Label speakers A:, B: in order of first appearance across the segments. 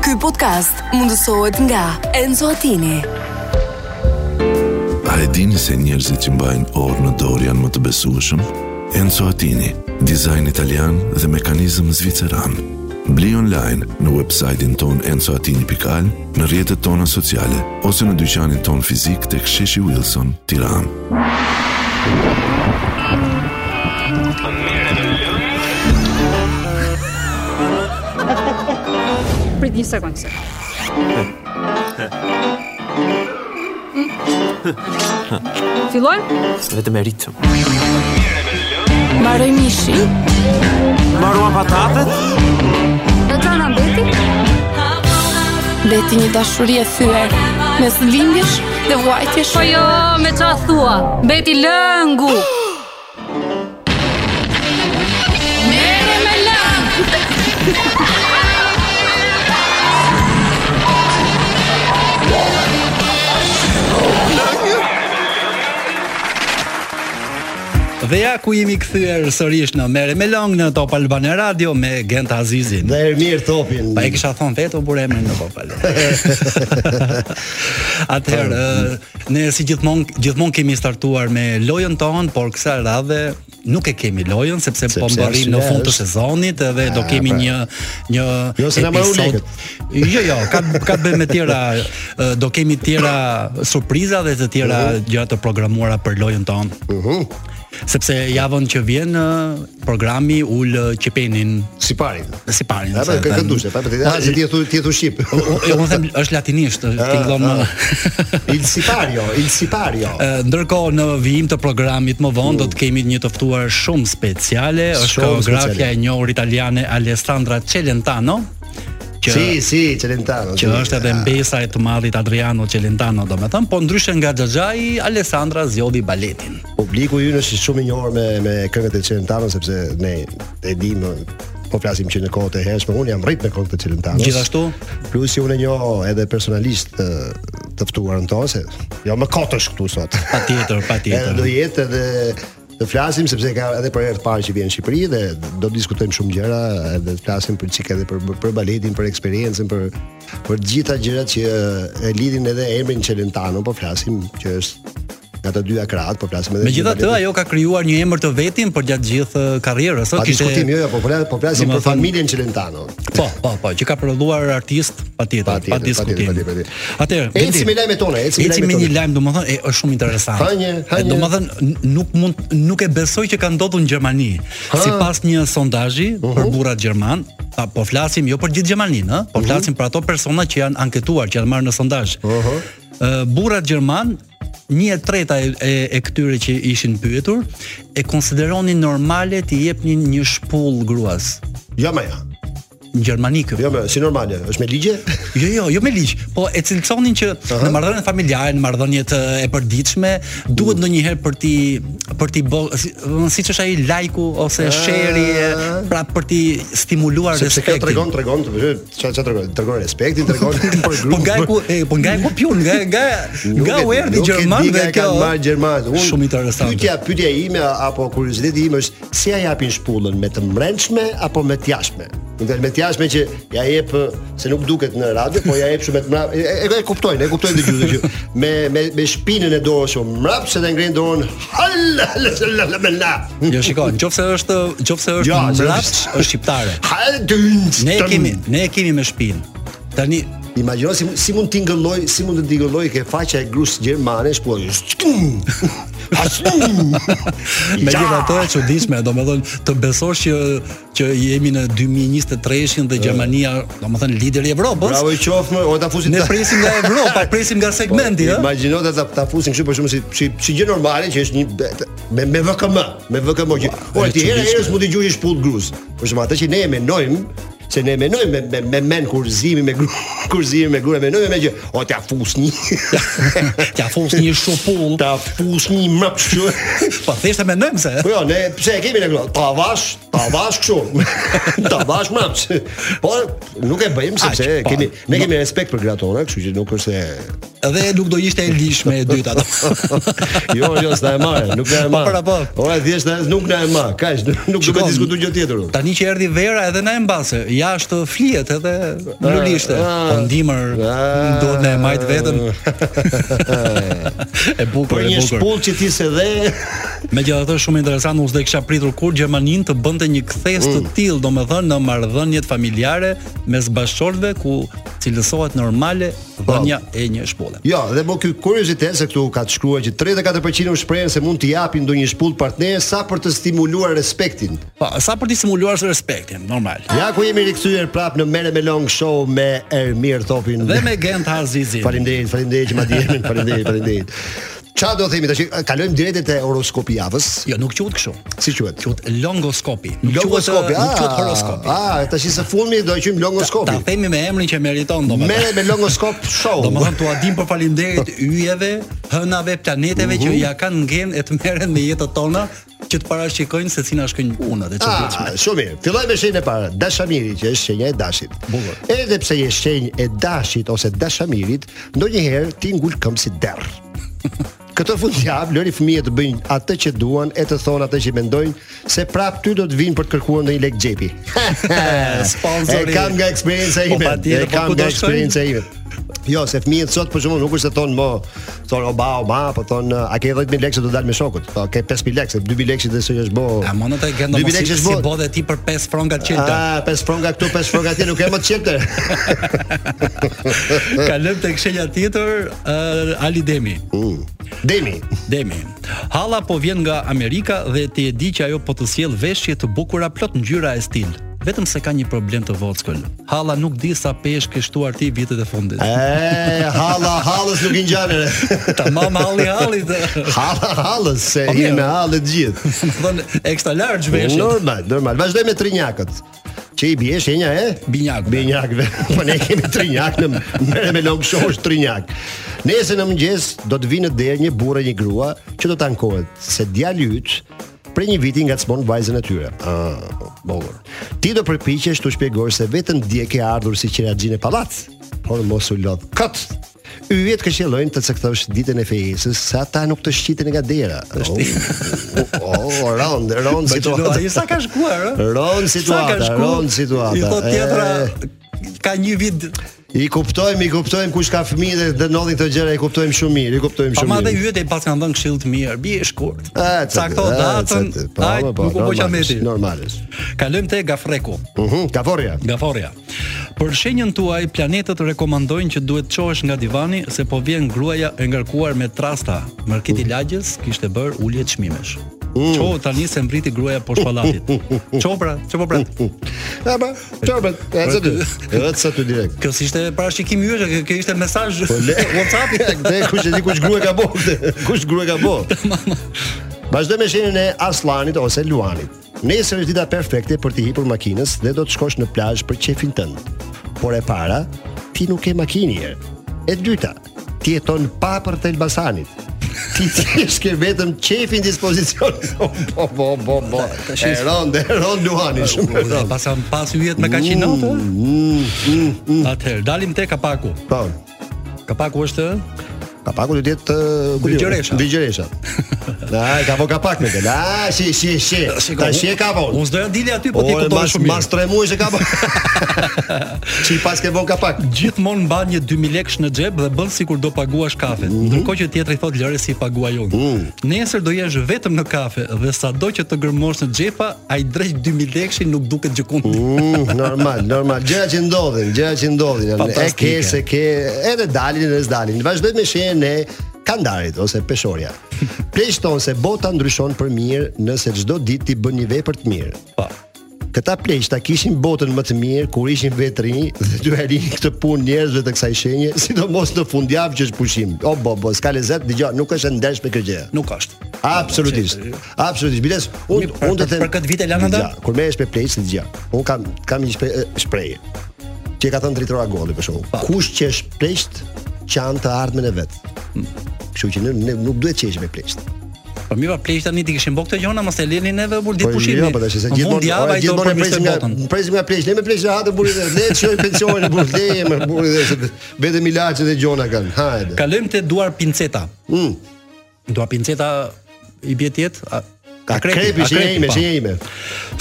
A: Ky podcast mundësohet nga Enzo Attini.
B: A e dini se njerëzit që mbajnë orë në dorë janë më të besueshëm? Enzo Attini, dizajn italian dhe mekanizëm zviceran. Bli online në website-in ton enzoatini.al, në rjetët tona sociale, ose në dyqanin ton fizik të ksheshi Wilson, tiran.
C: Prit një sekundë se. Filloj?
D: vetëm e ritëm.
A: Mbaroj mishi.
D: Marruan patatet?
C: Në të në beti?
A: Beti një dashuri e thyer mes lindjesh dhe vuajtjesh.
C: Po jo, me qa thua. Beti lëngu. Mere me lëngu.
E: Dhe ja ku jemi kthyer sërish në Merë me Long në Top Albana Radio me Gent Azizin.
F: Dhe Ermir Topin.
E: Pa e kisha thonë vetë u bure emrin në Popal. Atëherë, ë, ne si gjithmonë gjithmonë kemi startuar me lojën tonë, por kësa radhe nuk e kemi lojën sepse po
F: Sepse
E: mbërrim
F: arsyeja
E: në fund të
F: është-
E: sezonit dhe do kemi
F: pra.
E: një një
F: Jo, se na marrun
E: episod- Jo, jo, ka ka të bëjë me tjera ë, do kemi tjera surpriza dhe të tjera
F: Mhm.
E: gjëra të programuara për lojën tonë. Sepse javën që vjen ë, programi ul ë, qepenin
F: si pari.
E: si parin.
F: Ja,
E: se
F: pa
E: them.
F: këngë dushte, pa vetë. Ah, se ti e Ah, thu ti e thu shqip.
E: Jo, unë them është latinisht, fillon në
F: Il sipario, il sipario.
E: Ë, Ndërkohë në vijim të programit më vonë do të kemi një të ftuar shumë speciale, është
F: Shumë
E: koreografja
F: speciale.
E: e njohur italiane Alessandra Celentano që
F: Si, si, Celentano.
E: që është edhe mbesa e të madhit Adriano Celentano, domethënë, po ndryshe nga Xhaxhai, Alessandra zgjodhi baletin.
F: Publiku ju është shumë i njohur me me këngët e Celentano sepse ne e dimë po flasim që në kohët e hershme unë jam rrit me këngët e Celentanos.
E: Gjithashtu?
F: plus që unë e njoh edhe personalisht të, të ftuarën tonë se jo më kotësh këtu sot.
E: Patjetër,
F: Edhe do
E: patjetër.
F: jetë edhe të flasim sepse ka edhe për herë të parë që vjen në Shqipëri dhe do të diskutojmë shumë gjëra, edhe të flasim për çik edhe për për baletin, për eksperiencën, për për të gjitha gjërat që eh, e lidhin edhe emrin Celentano, po flasim që është nga të dyja krahat, po flasim edhe
E: Megjithatë, ajo ka krijuar një emër të vetin për gjatë gjithë eh, karrierës, ëh,
F: pa diskutim, jo, jo, po flasim, po flasim për
E: Domethënë-
F: familjen Celentano.
E: Po, po, po, që ka prodhuar artist patjetër,
F: Patjetër,
E: pa diskutim.
F: patjetër, patjetër.
E: Atëherë,
F: Eci
E: Bedi,
F: me lajmet tona, eci me
E: eci
F: lajmet
E: me një
F: tona.
E: lajm, domethënë, e, është shumë interesant.
F: Hajnje, hajnje.
E: E, Domethënë n- nuk mund nuk e besoj që ka ndodhur në Gjermani. Sipas një sondazhi
F: Mhm.
E: për burrat gjerman, ta po flasim jo për gjithë Gjermaninë, ë,
F: Mhm.
E: po flasim për ato persona që janë anketuar, që janë marrë në sondazh.
F: Oho.
E: Ë, burrat gjerman një e treta e, e, e këtyre që ishin pyetur e konsideronin normale të jepnin një shpull gruas
F: Jo më ja.
E: në Gjermani këtu.
F: Jo më, si normale, është me ligje?
E: Jo, jo, jo me ligj, po e cilësonin që në marrëdhënien familjare, në marrëdhëniet e përditshme, duhet ndonjëherë për ti për ti bë, si- siç është ai laiku ose sheri, e, pra për ti stimuluar
F: Ah. Sepse kjo
E: respektin.
F: tregon, tregon, ç'a ç'a tregon? Tregon respektin, tregon për
E: Po
F: grupin.
E: nga e ku, e, po nga e ku piun, nga nga
F: Nuk
E: nga
F: e
E: u
F: di,
E: erdhi
F: nuk e
E: gjerman
F: di ka
E: dhe
F: e
E: kjo.
F: kanë marrë gjermanët. Unë
E: Shumë interesante.
F: Pyetja pyetja ime apo kurioziteti im është si ja japin shpullën me të mbrendshme apo me të jashtme? Në fjalë me të jashtme që ja jep ë, se nuk duket në radio, po ja jep shumë me të mbrapsht. E, e, e kuptojnë, e kuptojnë dëgjuesit që me me me shpinën e dorës shumë mbrapsht se ta ngrenë dorën. Hala hala, hala, hala, hala.
E: Jo, shikoj, nëse është nëse është
F: Jo,
E: ja,
F: se
E: mbrapsht,
F: është-
E: është shqiptare.
F: Hal, dync,
E: Ne e
F: tëm.
E: kemi, ne e kemi me shpinë. Tani
F: Imagjino si, si mund tingëlloj, si mund të tingëlloj ke faqa e grus gjermane, shpo.
E: Me gjithë ato e çuditshme, domethënë të besosh që që jemi në 2023-shin dhe Gjermania, domethënë lideri i Evropës.
F: Bravo i qoftë, më, o ta fusin.
E: Ne
F: ta-
E: presim nga Evropa, presim nga segmenti, ë.
F: Imagjino ta ta, ta fusin kështu për shumë si si, si gjë normale që është një me me VKM, me VKM që. O
E: e
F: ti herë
E: çuditshme.
F: herës mund të gjuhësh shpull gruz. Por shumë atë që ne e menojmë se ne menojmë me me, me men kurzimin me gru- kurzimin me grua menojmë me gjë. O ta fusni.
E: T'ja fus një shupull.
F: ta fusni më kështu.
E: Po thjesht e mendojmë se.
F: Po jo, ne pse e kemi ne këto? Tavash, tavash kështu. tavash më. Por nuk e bëjmë sepse
E: Aq, po.
F: kemi ne kemi respekt për gratona, kështu që nuk është se
E: Dhe nuk do ishte e lishme e dyta.
F: jo, jo, s'na e marrë, nuk na e
E: Po, pra,
F: marrë.
E: po.
F: Ora thjesht na nuk na e marrë. Kaq, nuk do të
E: Shikon,
F: diskutoj gjë tjetër. unë.
E: Tani që erdhi vera edhe na e mbase. jashtë flihet edhe lulishte.
F: ah,
E: Po ndimër
F: ah,
E: duhet na e majt veten. e bukur,
F: Për
E: e
F: një
E: bukur.
F: shpull që ti se dhe
E: Megjithatë është shumë interesant, unë s'do e kisha pritur kur Gjermaninë të bënte një kthesë
F: Mm.
E: të tillë, domethënë në marrëdhëniet familjare mes bashkëshortëve ku cilësohet normale
F: Po.
E: dhënia e një shpulle.
F: Jo, dhe më ky kuriozitet se këtu ka të shkruar që 34% shprehen se mund të japin ndonjë shpull partner sa për të stimuluar respektin.
E: Po, sa për të simuluar së respektin, normal.
F: Ja ku jemi rikthyer prap në Merre me Long Show me Ermir Topin.
E: Dhe me Gent Hazizin.
F: Faleminderit, faleminderit që ma dihemin, faleminderit, faleminderit. Qa do themi tash? Kalojmë drejtë te horoskopi i javës.
E: Jo, nuk quhet kështu.
F: Si quhet?
E: Quhet longoskopi. Nuk quhet,
F: Longoskopi.
E: uh, nuk quhet horoskopi.
F: Ah, tash se funi do e quajmë
E: Ta
F: longoskopi.
E: themi me emrin që meriton domethënë.
F: Merre me longoskop show.
E: Do më thënë Po, t'ua dim për falimderit yjeve, hënave, planeteve që ja kanë ngenë e të meren me jetët tona që të parashikojnë se cina shkojnë punët e që
F: Ah, shumë mirë. Filloj me shenjën e parë, dashamiri që është shenja e dashit.
E: Bukur.
F: Edhe pse je shenjë e dashit ose dashamirit, ndonjëherë ti ngul këmbë si derr. Këtë fundjavë lëri fëmijët të bëjnë atë që duan e të thonë atë që mendojnë, se prap ty do të vinë për të kërkuar ndonjë lek xhepi.
E: Sponsori.
F: E kam nga eksperjenca
E: Po,
F: ime.
E: patjetër,
F: e
E: po,
F: kam
E: ku do
F: nga
E: shkojnë?
F: eksperjenca ime. Jo, se fëmijët sot për shembull nuk është se thonë mo, thonë o ba, o ma, po thonë a ke 10000 lekë se do dal me shokut. Po ke 5000 lekë, se 2000 lekë që do të bo.
E: A më në të gëndo
F: 2000
E: mos
F: lekë
E: si,
F: që
E: si
F: s'bo-
E: bodhe ti për 5 fronga qelta.
F: Ah, pesë fronga këtu, pesë fronga atje, nuk e më të qelte.
E: Kalëm të kshenja tjetër, uh, Ali Demi.
F: Demi.
E: Demi. Halla po vjen nga Amerika dhe ti e di që ajo po të sjell veshje të bukura plot ngjyra e stil. Vetëm se ka një problem të vockël. Halla nuk di sa pesh ke shtuar ti vitet e fundit.
F: Ah. E, halla, hallës nuk i ngjanë. re.
E: Tamam halli halli. të-
F: Halla, hallës, se
E: Po,
F: jemi
E: mirë.
F: me hallë të gjithë.
E: Më thonë ekstra large veshje.
F: Normal, normal. Vazhdoj me trinjakët. Që i bie shenja e?
E: Binjakëve.
F: Binjakëve. Po ne kemi trinjak në merre me long show është trinjak. Nesër në mëngjes do të vinë në derë një burrë e një grua që do të ankohet se djali yt prej një viti ngacmon vajzën e tyre. Ah, bollor. Ti do përpiqesh të shpjegosh se vetëm dje ke ardhur si qiraxhin e pallat, por mos u lodh. Kot. Yjet këshillojnë të caktosh ditën e fejesës, se ata nuk të shqiten nga dera. Oh, oh, oh, round, round
E: Po që do,
F: situata.
E: ai sa ka shkuar, ë?
F: Ron situata, ron situata.
E: I thot tjetra ka një vit,
F: I kuptojmë, i kuptojmë kush ka fëmijë dhe dhe ndodhin këto gjëra, i kuptojmë shumë mirë, i kuptojmë
E: pa
F: shumë
E: ma dhe
F: mirë.
E: hyet e pas kanë dhënë këshill të mirë, bie shkurt.
F: E, të-
E: Sakto
F: e,
E: datën,
F: të- të- po,
E: ai
F: po,
E: nuk u bë
F: normal
E: qameti.
F: është, Normal është.
E: Kalojmë te Gafreku,
F: Mhm, kaforja.
E: Gaforja. Për shenjën tuaj, planetët rekomandojnë që duhet të çohesh nga divani se po vjen gruaja e ngarkuar me trasta. Marketi i
F: Mm.
E: lagjes kishte bër ulje çmimesh. Qo tani se mbriti gruaja poshtë pallatit. Qo pra, ço po pra.
F: Ja, ba, çorbat, e cë ty. E cë ty direkt.
E: Kjo si ishte parashikimi yje, kjo- kjo ishte mesazh
F: Po,
E: WhatsApp-i.
F: Dhe kush e di kush grua ka bërë këtë? Kush grua ka bërë? Vazhdoj me shenjën e Aslanit ose Luanit. Nesër është dita perfekte për të hipur makinës dhe do të shkosh në plazh për qefin tënd. Por e para, ti nuk ke makinë. E dyta, ti jeton pa për të Elbasanit. Ti thjesht ke vetëm qefin dispozicion. Po po po po. E ron, e ron Luani shumë. e
E: Ura,
F: ron.
E: pas kam pas yjet me kaçinot.
F: Mm.
E: Atëherë dalim te kapaku.
F: Po.
E: Kapaku është
F: Kapaku do të jetë uh, ku diu?
E: Digjeresha.
F: Digjeresha. Na, ka po kapak me këtë. Na, shi shi shi. Tash e ka po.
E: Unë s'doja dili aty, po ti
F: O, e
E: kupton
F: mas,
E: shumë
F: mas
E: mirë.
F: tre muaj që ka bërë. Çi pas ke bën kapak.
E: Gjithmonë mban një 2000 lekësh në xhep dhe bën sikur do paguash kafe.
F: Mhm.
E: Ndërkohë që tjetri thot lëre si paguaj unë.
F: Mm.
E: Nesër do jesh vetëm në kafe dhe sado që të gërmosh në xhepa, ai drejt 2000 lekësh nuk duket gjëkun.
F: Mm, normal, normal. Gjëra që ndodhin, gjëra që ndodhin. E ke
E: Fantastike.
F: se ke, edhe dalin edhe s'dalin. Vazhdoj me shenjën e kandarit ose peshorja. Pleqton se bota ndryshon për mirë nëse çdo ditë ti bën një vepër të mirë.
E: Pa.
F: Këta pleqta kishin botën më të mirë kur ishin vetë rinj dhe dy rinj këtë punë njerëzve të kësaj shenje, sidomos në fundjavë që është pushim. O bo, bo, s'ka lezet, dëgjoj, nuk është e ndershme kjo gjë.
E: Nuk është.
F: Absolutisht. Absolutisht. Biles, unë
E: Mirë, për-
F: unë të
E: për-
F: them.
E: për këtë vit e lanë nda?
F: Dëgjoj, Kur merresh me pleç, dëgjoj. Unë kam kam një shpe- e, shprehje. Që e ka thënë Dritora Golli për shembull. Kush që është pleqt, qan të ardhmen e vet.
E: Hmm.
F: Kështu që ne, ne nuk duhet qesh me pleqt.
E: Po mirë, pa plej tani ti kishin bërë këto gjona, mos e lini neve për ditë pushimi.
F: jo, po tash se
E: Në
F: gjithmonë
E: fund javë
F: o,
E: ai do
F: gjithmonë e presim
E: përmirësoj
F: nga
E: botën.
F: presim nga pleqt. Ne me pleqt ha të burrit, dhe ne çojmë pensionin burrit, ne me burrit dhe se- vetëm ilaçet e gjona kanë. Hajde.
E: Kalojmë te duar pinceta.
F: Mm.
E: Dua pinceta i bie tjetë, a- Akrepi,
F: Akrepi, shenja
E: akrepi,
F: ime,
E: pa.
F: shenja ime.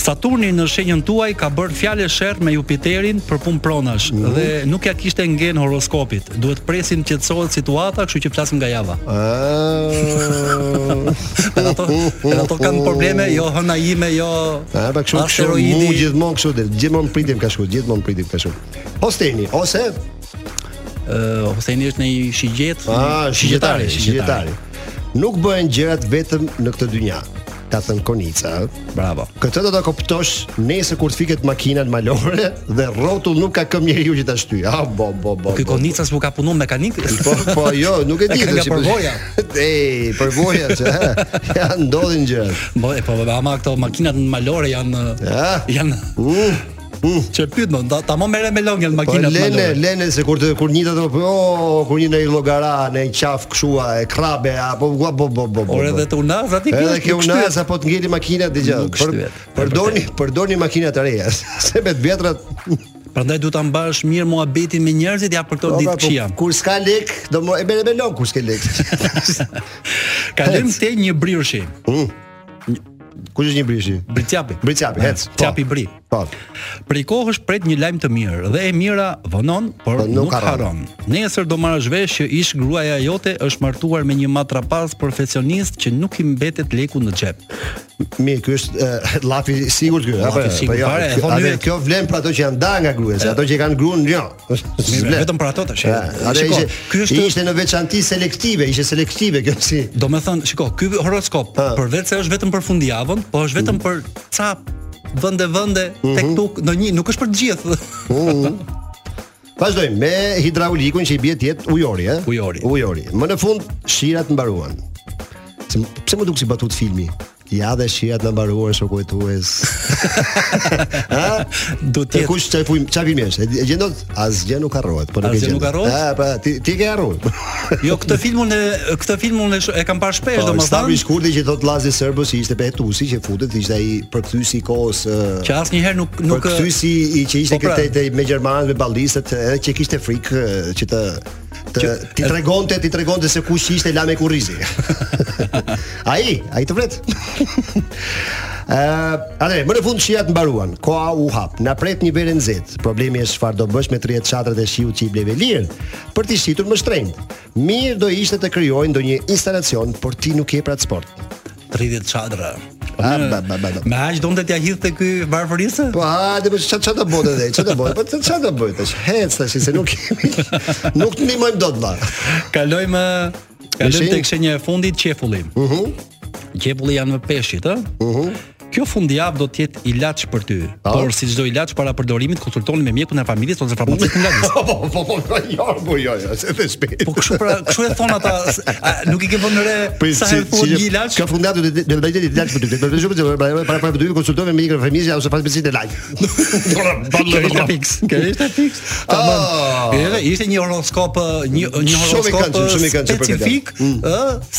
E: Saturni në shenjën tuaj ka bërë fjalë shert me Jupiterin për punë pronash
F: Mm.
E: dhe nuk ja kishte ngjen horoskopit. Duhet presim që të qetësohet situata, kështu që flasim nga java.
F: Ah.
E: Edhe ato, edhe ato kanë probleme, jo hëna ime, jo
F: A pa kështu kështu mu gjithmonë kështu del. Gjithmonë pritim ka shku, gjithmonë pritim ka shku. Hosteni ose
E: Mm, Ë, Hoseni është në i shigjet,
F: ah,
E: një-
F: shigjetari, shigjetari. Nuk bëhen gjërat vetëm në këtë dynja. Ka thënë Konica, ë.
E: Bravo.
F: Këtë do ta kuptosh nesër kur të fiket makina në malore dhe rrotull nuk ka këm njeriu që ta shtyj. Ah, bo bo bo.
E: Ky
F: bo.
E: Konica s'u ka punuar mekanik?
F: Po, po, jo, nuk e
E: E
F: di.
E: ka
F: të
E: nga
F: shqipësh-
E: përvoja.
F: Ej, përvoja që, ha, ja ndodhin gjërat.
E: Po, e, po, ama këto makinat në malore janë
F: Ja.
E: janë
F: Mm. Mm.
E: Çe pyet më, ta- tamam merre me longjen
F: Po
E: makinat në
F: lene,
E: malore.
F: lene se kur të kur njitet apo o kur një në llogara në një qaf këshua e krabe apo gua bo bo bo. bo,
E: Por edhe
F: bo.
E: të unaz aty
F: Edhe
E: nuk
F: kjo
E: shtyhet.
F: unas apo të ngeli makina dëgjoj.
E: Nuk
F: Për,
E: shtyhet.
F: përdorni përdorni makina të reja, se me të vjetrat
E: Prandaj duhet ta mbash mirë muhabetin me njerëzit ja për këto
F: po,
E: ditë
F: pra, po,
E: qija.
F: kur s'ka lek, do më e merr me lon kur s'ke lek.
E: Kalojmë te një brirshi,
F: Hmm? Kush është një brishi?
E: britjapi.
F: Britjapi, hec. po.
E: Britjapi Hmm. bri.
F: Po.
E: Prej kohësh pret një lajm të mirë dhe e mira vonon, por
F: Po, nuk
E: nuk,
F: harron.
E: harron. Nesër do marrësh vesh që ish gruaja jote është martuar me një matrapas profesionist që nuk i mbetet leku në xhep.
F: Mirë, ky është e, llafi i sigurt ky, apo?
E: Llafi i sigurt,
F: jo,
E: fare, e
F: kjo-
E: thonë
F: atë-
E: vetë.
F: Kjo vlen për ato që janë ndarë nga gruaja, se ato që i kanë gruan, jo.
E: Mirë,
F: S'vlen.
E: vetëm për ato tash.
F: Ja, atë
E: Shiko,
F: ishte,
E: ky është
F: ishte në veçanti selektive, ishte selektive kjo si.
E: Do me thënë, shiko, ky horoskop,
F: Ha. Mm.
E: përveç se është vetëm për fundjavën, po është vetëm për ca vende vende tek
F: Mhm.
E: tuk në një, nuk është për të gjithë.
F: Vazhdojmë me hidraulikun që i bie tjet ujori, ë?
E: Ujori.
F: Ujori. Më në fund shirat mbaruan. Se, pse më duk si batut filmi? Ja dhe shirat në mbaruan shoku e tues. Ha?
E: Do të
F: Te
E: jetë.
F: kush çaj film, çaj filmi është? E gjendon asgjë nuk harrohet, po nuk e
E: Asgjë nuk
F: gjendon.
E: harrohet?
F: Ah, pra ti ti ke harruar.
E: Jo, këtë filmun e këtë filmun e, sh- e kam parë shpesh,
F: Po, stabi i
E: domethënë,
F: shkurti që thot Lazi Serbos ishte Petusi që futet, ishte ai përkthyesi i kohës ë,
E: që asnjëherë nuk
F: Nuk
E: nuk
F: kthyesi i që ishte
E: Po pra.
F: këtej te me gjermanët me ballistat edhe që kishte frikë e, që të të ti
E: eh,
F: tregonte ti tregonte se kush ishte Lame Kurrizi. ai, ai të vret. Ë, atëherë, më në fund shiat mbaruan. Koha u hap. Na pret një verë nxehtë. Problemi është çfarë do bësh me 30 çadrat e shiut që i bleve lirë për të shitur më shtrenjtë. Mirë do ishte të krijojnë ndonjë instalacion, por ti nuk je prat sport.
E: 30 çadra. Po,
F: Ah,
E: me-
F: ba, ba, ba, ba.
E: Me aq donte t'ja hidhte ky varfërisë?
F: Po hajde, po çfarë çfarë do bëte dhe? Çfarë do bëj? Po çfarë çfarë do bëj tash? Hec tash se nuk kemi. Nuk të ndihmojmë dot valla.
E: Kalojmë
F: Ishin?
E: kalojmë tek shenja e fundit, qefulli. Mhm. Qefulli janë më peshqit, ë? Mhm. Kjo fundjavë do të jetë ilaç për ty.
F: Po.
E: Por si çdo ilaç para përdorimit, konsultoni me mjekun e familjes ose farmacistin lagës.
F: Po po po po po, jo, po jo, jo, se të shpejt.
E: Po kështu pra, kështu e thon ata, s- a, nuk i ke vënë re sa herë thuat një ilaç.
F: Ka fundat do të do të bëjë ilaç për ty. Do të bëjë para para para do të konsultove me një familje ose pas bisedë lajm.
E: Kjo ishte fix, kjo ishte fix. Tamam.
F: Ah.
E: Edhe ishte një horoskop, ë, një një
F: Shumë i
E: horoskop
F: këndshëm, shumë i
E: ë,
F: këndshëm për këtë.
E: specifik,
F: Mm.
E: ë,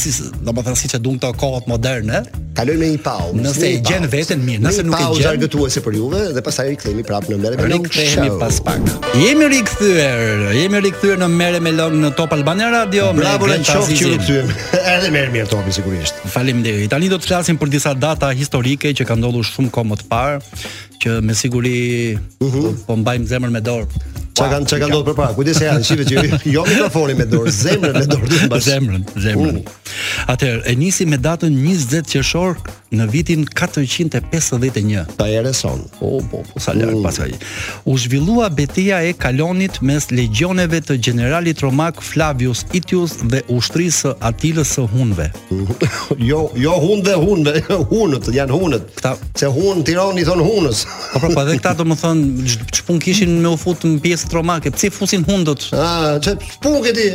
E: si domethënë siç e duan këto kohët moderne.
F: Kaloj me një pau.
E: Nëse
F: me
E: i
F: një
E: gjen
F: pauzë.
E: veten mirë,
F: Me
E: nëse
F: një
E: nuk e
F: pauzë
E: gjen-
F: argëtuese për juve dhe pastaj rikthehemi prapë në merë me
E: Rikthehemi pas pak. Jemi rikthyer, jemi rikthyer në Merre me Long në Top Albania Radio me
F: Bravo, në
E: Greta
F: qoftë që
E: Azizin.
F: rikthyehem. Edhe merr mirë topi sigurisht.
E: Faleminderit. Tani do të flasim për disa data historike që ka ndodhur shumë kohë më të parë, që me siguri
F: Mhm.
E: po mbajmë zemrën me dorë.
F: Çka kanë çka kanë ndodhur përpara? Kujdes se janë shive që jo mikrofonin me dorë, zemrën me dorë duhet mbash.
E: Zemrën, zemrën. Atëherë, e nisi me datën 20 qershor në vitin 451.
F: Ta erë son.
E: O, po, po, sa larg pasaj. U zhvillua betejë e Kalonit mes legioneve të generalit romak Flavius Itius dhe ushtrisë së Atilës së Hunëve.
F: Jo, jo hun dhe hun, dhe- hunët, janë hunët.
E: Këta-
F: Se hun Tirani thon hunës.
E: Po pra, po edhe këta domethënë ç'pun kishin me u fut në pjesë romake, pse fusin hundët?
F: Ah, çe punë ke ti?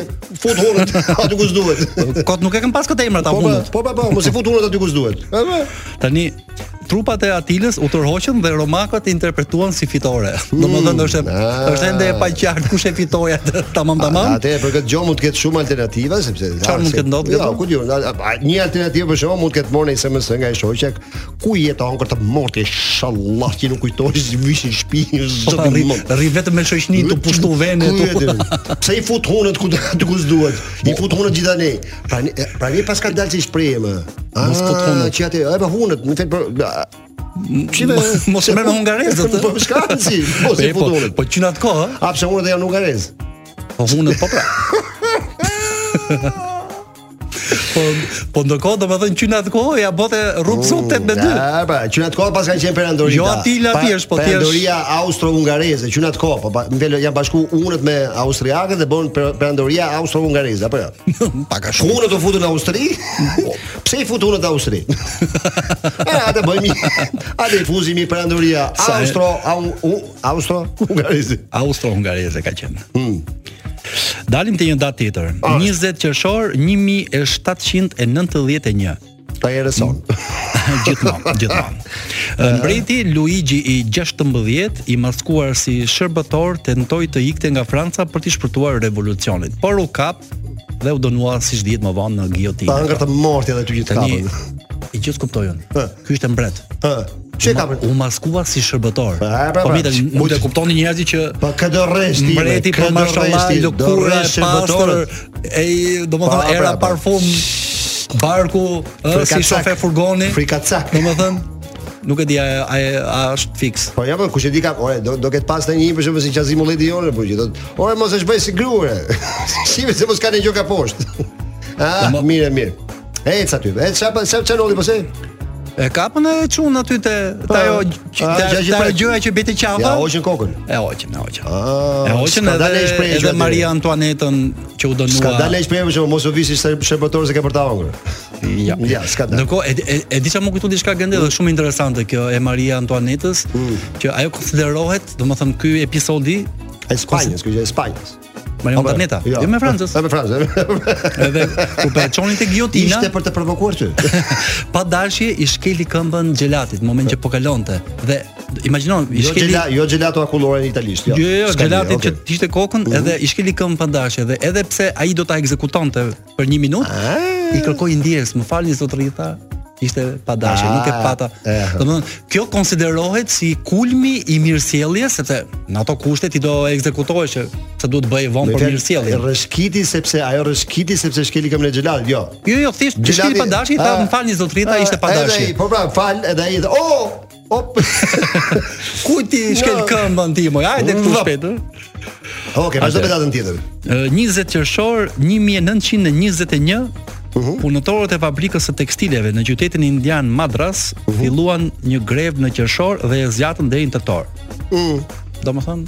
F: Fut hunët aty ku s'duhet.
E: Kot nuk e kanë pas këtë emrat ta
F: Po po,
E: hundët.
F: po po, po, mos i fut hunët aty ku s'duhet. E, po.
E: Tani trupat e Atilës u tërhoqën dhe romakët interpretuan si fitore.
F: Hmm,
E: Domethënë është
F: Ah.
E: është ende e paqartë kush e fitoi atë tamam tamam.
F: Atë për këtë gjë mund të ketë shumë alternativa sepse
E: Çfarë mund të
F: se-
E: ndodhë
F: Jo,
E: këtu?
F: ku diu, a- a- një alternativë për shkakun mund të ketë marrë një SMS nga ai shoqja ku jeton kur të morti, inshallah që nuk kujtohesh vishin shtëpi,
E: Po
F: zot
E: ta
F: i
E: rri,
F: mund.
E: rri vetëm me shoqëninë tu pushtu vene
F: Ku
E: tu.
F: jetin? Pse i fut hunët ku aty ku s'duhet? I fut hunët gjithanej. Prani prani pas ka dalë si shprehje më.
E: Mos po të
F: Ah,
E: hunë.
F: që atë, e pa hunët, më fal për a- Shive,
E: mos e merr me hungarezët, ë?
F: Po s'ka si, mos i
E: Po,
F: fut hunët.
E: po qyna atko, ë?
F: A pse hunët janë hungarez?
E: Po hunë po pra. po po ndërkohë domethënë qyna atko ja bote rrub zup 82.
F: Hmm, Ja, pra, që në atë kohë pas kanë qenë Perandorita.
E: Jo, Attila, ti është, po ti është-
F: Perandoria austro-hungareze, që në atë kohë, po pa- më vjen janë bashku unët me austriakët dhe bën Per- Perandoria austro-hungareze, apo jo?
E: Pak a shumë.
F: Hunët u futën në Austri? Pse i futën hunët në Austri? e, atë bëjmë, atë i fuzim i Perandoria
E: Sa e-
F: austro austro-hungareze.
E: Austro-hungareze ka qenë.
F: Hmm.
E: Dalim te një datë tjetër. 20 qershor 1791.
F: Ta e rëson.
E: gjithmonë, gjithmonë. Ë, Mbreti Luigi i 16 i maskuar si shërbëtor tentoi të ikte nga Franca për të shpërtuar revolucionin, por u kap dhe u dënua siç dihet më vonë në
F: Ta
E: giotinë.
F: ngër të morti edhe ty gjithë
E: Tani
F: kapën.
E: i gjithë kuptojnë. Ky ishte mbret.
F: Hë, që e kapën?
E: U maskua si shërbëtor.
F: Pa, pra,
E: Po
F: pra.
E: mirë, mund të kuptoni njerëzit që
F: Po këtë rresh ti.
E: Mbreti po mashallah i lëkurë e pastër, e
F: Pa,
E: domethënë era
F: pra, pa.
E: parfum barku ë si
F: Frikacak.
E: shofe furgoni.
F: Frikacak.
E: Domethënë nuk e di a a, a është fiks.
F: Po ja, po kush e di ka, ore, do do ket pas tani një për shembull si Qazim Ulleti jonë, po që do. Ore mos e shbej si gruare. Shive se mos kanë gjë ka poshtë. Ah,
E: Domo-
F: mirë, mirë. Ec aty. Ec çfarë çfarë çanoli po se?
E: E kapën e çun aty te te ajo
F: Ah,
E: te
F: ah,
E: te
F: gjë që
E: ajo
F: pret.
E: gjëja që bëti qafa.
F: Ja, hoqën kokën.
E: E hoqën, e hoqën.
F: Ah,
E: E hoqën
F: s'ka
E: edhe
F: dalë e shprehje që
E: edhe
F: aty.
E: Maria Antoanetën që u dënua.
F: Ska dalë hiç për shembull, mos u visi se shërbëtor se ke për ta hungër.
E: Ja,
F: Ja, s'ka dalë.
E: Ndërkohë e, e, e di çka më kujtu diçka gjendë dhe shumë interesante kjo e Maria Antoanetës,
F: Mm.
E: që ajo konsiderohet, domethënë ky episodi
F: E Spanjës, kjo gjë e Spanjës.
E: Maria Antoaneta, jo, me Francës.
F: Jo me Francës.
E: Edhe kur po e çonin tek gjotina,
F: Ishte për të provokuar ty.
E: pa dashje i shkeli këmbën gjelatit në moment që po kalonte dhe imagjinon i
F: Jo
E: shkeli
F: gjela, jo gelato akullore në italisht, jo. Mhm.
E: Jo, jo,
F: S'ka
E: gjelatit
F: gjë,
E: që
F: okay.
E: ishte kokën edhe i shkeli këmbën pa dashje dhe edhe pse ai do ta ekzekutonte për një minutë, i kërkoi ndjes, më falni zotëri tha, ishte pa dashje, nuk e
F: Ah,
E: pata.
F: eh.
E: Domthon, kjo konsiderohet si kulmi i mirësjelljes sepse në ato kushte ti do ekzekutohesh se duhet bëj vonë për mirësjellje.
F: Rreshkiti sepse ajo rreshkiti sepse shkeli këmbën e gjelat, jo.
E: Jo, jo, thjesht i shkeli pa dashje, i tha,
F: Ah,
E: më falni zotëri tha,
F: ah,
E: ishte pa
F: edhe
E: dashje.
F: ai, Po pra, fal, edhe ai, tha, "Oh, op."
E: Ku ti shkel
F: Jo.
E: këmbën ti moj? Hajde këtu
F: Vap.
E: shpejt. ë?
F: Okej, vazhdo me
E: Atë.
F: datën tjetër.
E: Ë, 20 qershor 1921
F: Mhm.
E: Punëtorët e fabrikës së tekstileve në qytetin indian Madras
F: Mhm.
E: filluan një grevë në qershor dhe e zgjatën deri në tetor. Mm.
F: Mhm.
E: Domethënë,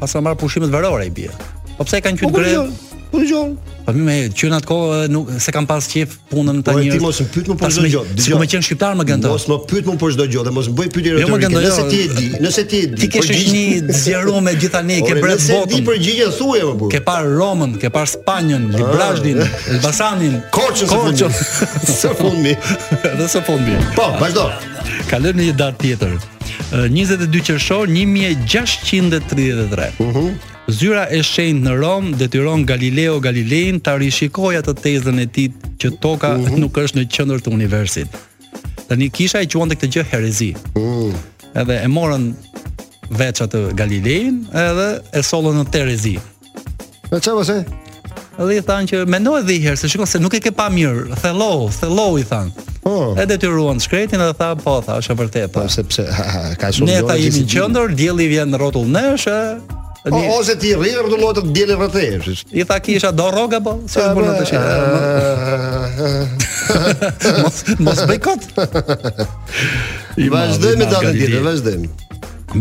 E: pas ka marrë pushimet verore i bie. Po pse kanë qenë grevë?
F: Po dëgjoj.
E: Po më me qen atë kohë e, nuk se kanë pas qef punën
F: Po
E: tani.
F: e ti mos më pyet më për çdo gjë.
E: Si po më qen shqiptar më gëndon.
F: Mos më pyet më për çdo gjë dhe mos më bëj pyetje
E: Jo, më
F: retorike.
E: gëndoj,
F: Nëse
E: jo.
F: ti e di, nëse ti e di.
E: Ti ke shoqni zgjeruar me gjithë ne, ke
F: Po, Ore,
E: bret
F: nëse e di
E: botën.
F: përgjigjen thuaj më burr.
E: Ke parë Romën, ke parë Spanjën, Librazhdin, Elbasanin,
F: Korçën së
E: Korçën.
F: fundmi. Së fundmi.
E: Edhe së fundi.
F: Po, vazhdo.
E: Kalojmë në një datë tjetër. Ë, 22 qershor 1633. Zyra e shenjtë në Rom detyron Galileo Galilein ta rishikojë atë tezën e tij që toka nuk është në qendër të universit. Tani kisha i quante këtë gjë herezi. Edhe e morën veç atë Galilein edhe e sollën në Terezi.
F: Me çfarë po mos e?
E: Edhe i thanë që mendoj edhe një herë se shikon se nuk e ke pa mirë. Thello, thello i thanë.
F: Po.
E: E detyruan shkretin edhe tha po, tha është e vërtetë. tha.
F: Po sepse ha, ha, ka shumë
E: Ne
F: gjëra
E: ta
F: që
E: jemi
F: si
E: në
F: di.
E: qendër, dielli vjen në rrotull nesh, e,
F: O,
E: ni-
F: Po, ose ti rri rrotullohet të dielë rrethësh.
E: I tha kisha do rroga po, si është bërë tash. Mos mos bëj kot. I
F: Vazhdojmë me
E: madhi,
F: datën
E: Galilei.
F: tjetër, vazhdojmë.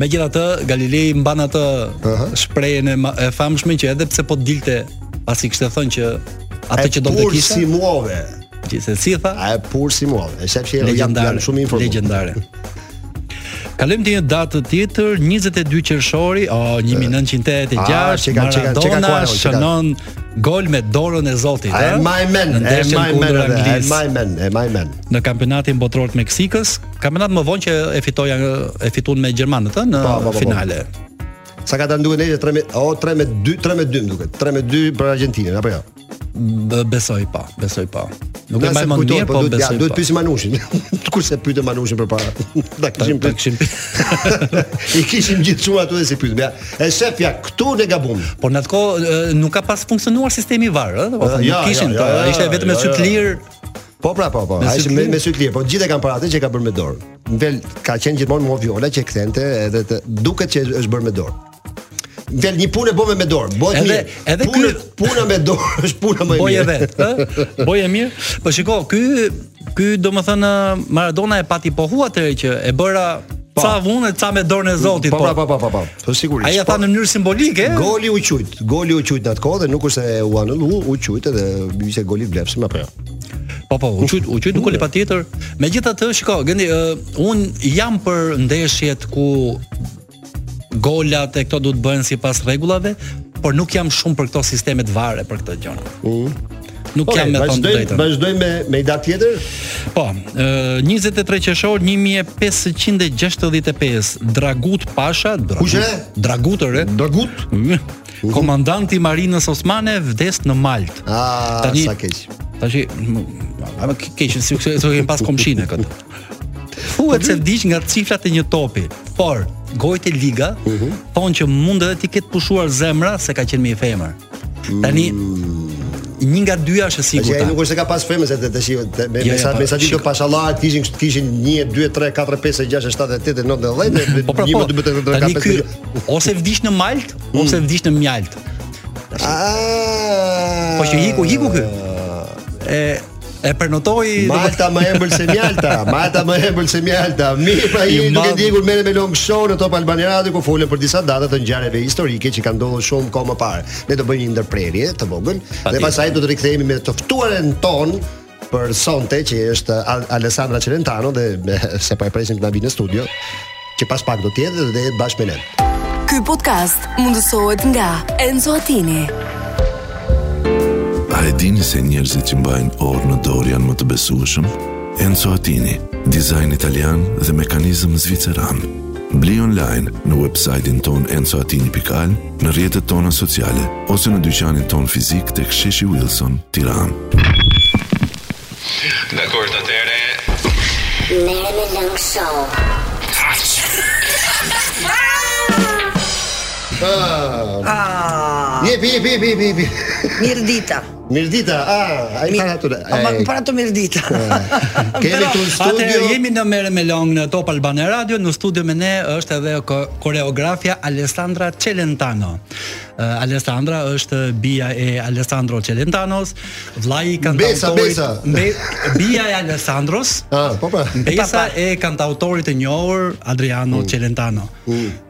E: Megjithatë, Galilei mban atë shprehjen e ma- e famshme që edhe pse po dilte, pasi kishte thënë që atë që do të
F: Pur
E: kisha,
F: si muove.
E: gjithsesi si tha,
F: A e pur si muove. E shef që janë-
E: legjendare,
F: janë Jo, shumë informuar.
E: legjendare. Kalojmë te një datë tjetër, 22 qershori, o 1986,
F: Ah, që ka- që ka- që ka
E: Maradona
F: kuadro, që ka-
E: shënon gol me dorën e Zotit.
F: A e
E: ë?
F: my men,
E: Në
F: e
E: ndeshjen
F: my men,
E: kundër
F: edhe, e
E: Anglisë
F: my men, e my men.
E: në kampionatin botror të Meksikës, kampionat më vonë që e fitoi e fituan me gjermanët ë, në
F: Po, po, po, po.
E: finale.
F: Sa ka ta nduhet ne 3 me o 3 me 2, 3 me 2 më duket. 3 me 2 për Argjentinën apo jo?
E: B- Besoj pa, besoj pa. Nuk e
F: Nëse
E: mbaj mend
F: kujtohet,
E: mirë, po
F: duhet ja,
E: besoj.
F: duhet
E: pa.
F: pyesim Manushin. Kurse pyetë Manushin përpara. Ta kishim
E: Ta
F: pyet.
E: kishim
F: I kishim gjithë shumë ato dhe si pyetëm. Ja, e shef ja, këtu ne gabum.
E: Por në atë kohë e, nuk ka pas funksionuar sistemi i VAR, ë, do të thonë,
F: Ja,
E: nuk kishin,
F: ja, ja,
E: ta-
F: ja,
E: ishte vetëm me
F: ja,
E: syt
F: ja.
E: lirë
F: Po pra, po, po.
E: Me
F: Ai
E: sy
F: që me,
E: clear?
F: me sy clear, po gjithë e kanë paratë që e ka bërë me dorë. Në vel ka qenë gjithmonë mua viola që e kthente edhe të duket që është bërë me dorë. Në vel një punë e bën me- me dorë. Bëhet
E: Edhe-
F: mirë.
E: edhe
F: Punë-
E: ky-
F: puna me dorë është puna më e
E: Boje
F: mirë.
E: vet, ë? Boje mirë. Po shiko, ky ky domethënë Maradona e pati pohu atëherë që e bëra ca vunë, ca me dorën e Zotit,
F: Po
E: po.
F: pra, po, po, po, po. Po sigurisht.
E: Ai e
F: po.
E: tha në mënyrë simbolike. ë?
F: Goli u qujt, goli u qujt në atë kohë dhe nuk është se u anullu, u qujt edhe ishte goli vlefshëm apo jo.
E: Po po, u qyt u qyt nuk pa tjetër. Megjithatë, shiko, gëndi, uh, un jam për ndeshjet ku golat e këto duhet bëhen sipas rregullave, por nuk jam shumë për këto sisteme të vare për këtë gjëra. Nuk
F: Po,
E: jam me thonë të
F: vazhdojmë
E: drejtën.
F: vazhdojmë me me i datë tjetër.
E: Po, ë, 23 qershor 1565, Dragut Pasha,
F: Kush e?
E: Dragut ë?
F: Dragut?
E: Komandanti i marinës osmane vdes në Maltë.
F: Ah,
E: Tani-
F: sa keq.
E: Tashi, m- a më ke- keq, si se kemi pas komshinë këtë. Thuhet se vdiq nga cifrat e një topi, por gojët e liga
F: Mhm.
E: thonë që mund edhe ti ketë pushuar zemra se ka qenë me i femër. Tani një nga dyja është e
F: Që Mm. ai nuk
E: sigurta.
F: është se ka pas femës atë tash me me
E: Jo, jo,
F: sa
E: po,
F: me sa ditë
E: shiko.
F: pashallar kishin kishin 1 2 3 4 5 6 7 8 9 10
E: Po pra
F: 11
E: po.
F: 12 13
E: Tani
F: 14
E: ky
F: 15
E: ose vdiq në Malt, ose vdiq në Mjalt.
F: Ah.
E: Po që hiku, hiku ky. E e prenotoi
F: Malta më embël se mjalta, Malta më embël se mjalta. Mirë pra
E: I
F: jemi duke
E: madh-
F: ndjekur merrem me Long Show në Top Albani Radio ku folëm për disa data të ngjarjeve historike që kanë ndodhur shumë kohë më parë. Ne do bëjmë një ndërprerje të vogël dhe pastaj do të rikthehemi me të ftuarën ton për sonte që është Al- Alessandra Celentano dhe me- se po e presim të na vinë në studio që pas pak do të jetë dhe bashkë me ne.
A: Ky podcast mundësohet nga Enzo Attini.
B: A e dini se njerëzit që mbajnë orë në dorë janë më të besueshëm? Enzo Attini, dizajn italian dhe mekanizëm zviceran. Bli online në website-in ton enzoatini.al, në rjetët tona sociale, ose në dyqanin ton fizik të ksheshi Wilson, tiran.
G: Dakor, atëre.
H: Marilyn Long Show.
F: Jepi, jepi, jepi, jepi, jepi.
I: Ah. Mirdita.
F: Mirdita, ah, ai para atë.
I: Ama para të Mirdita.
F: Eh. Kemi këtu
E: Atë
F: në
J: eh,
F: studio.
E: jemi në Merë me Long në Top Albana Radio, në studio me ne është edhe ko- koreografja Alessandra Celentano. Ë, Alessandra është bija e Alessandro Celentanos, vllai i kantautorit.
F: Besa, Besa.
E: Be- bija e Alessandros.
F: Ah, po pra.
E: Besa e kantautorit të njohur Adriano Celentano.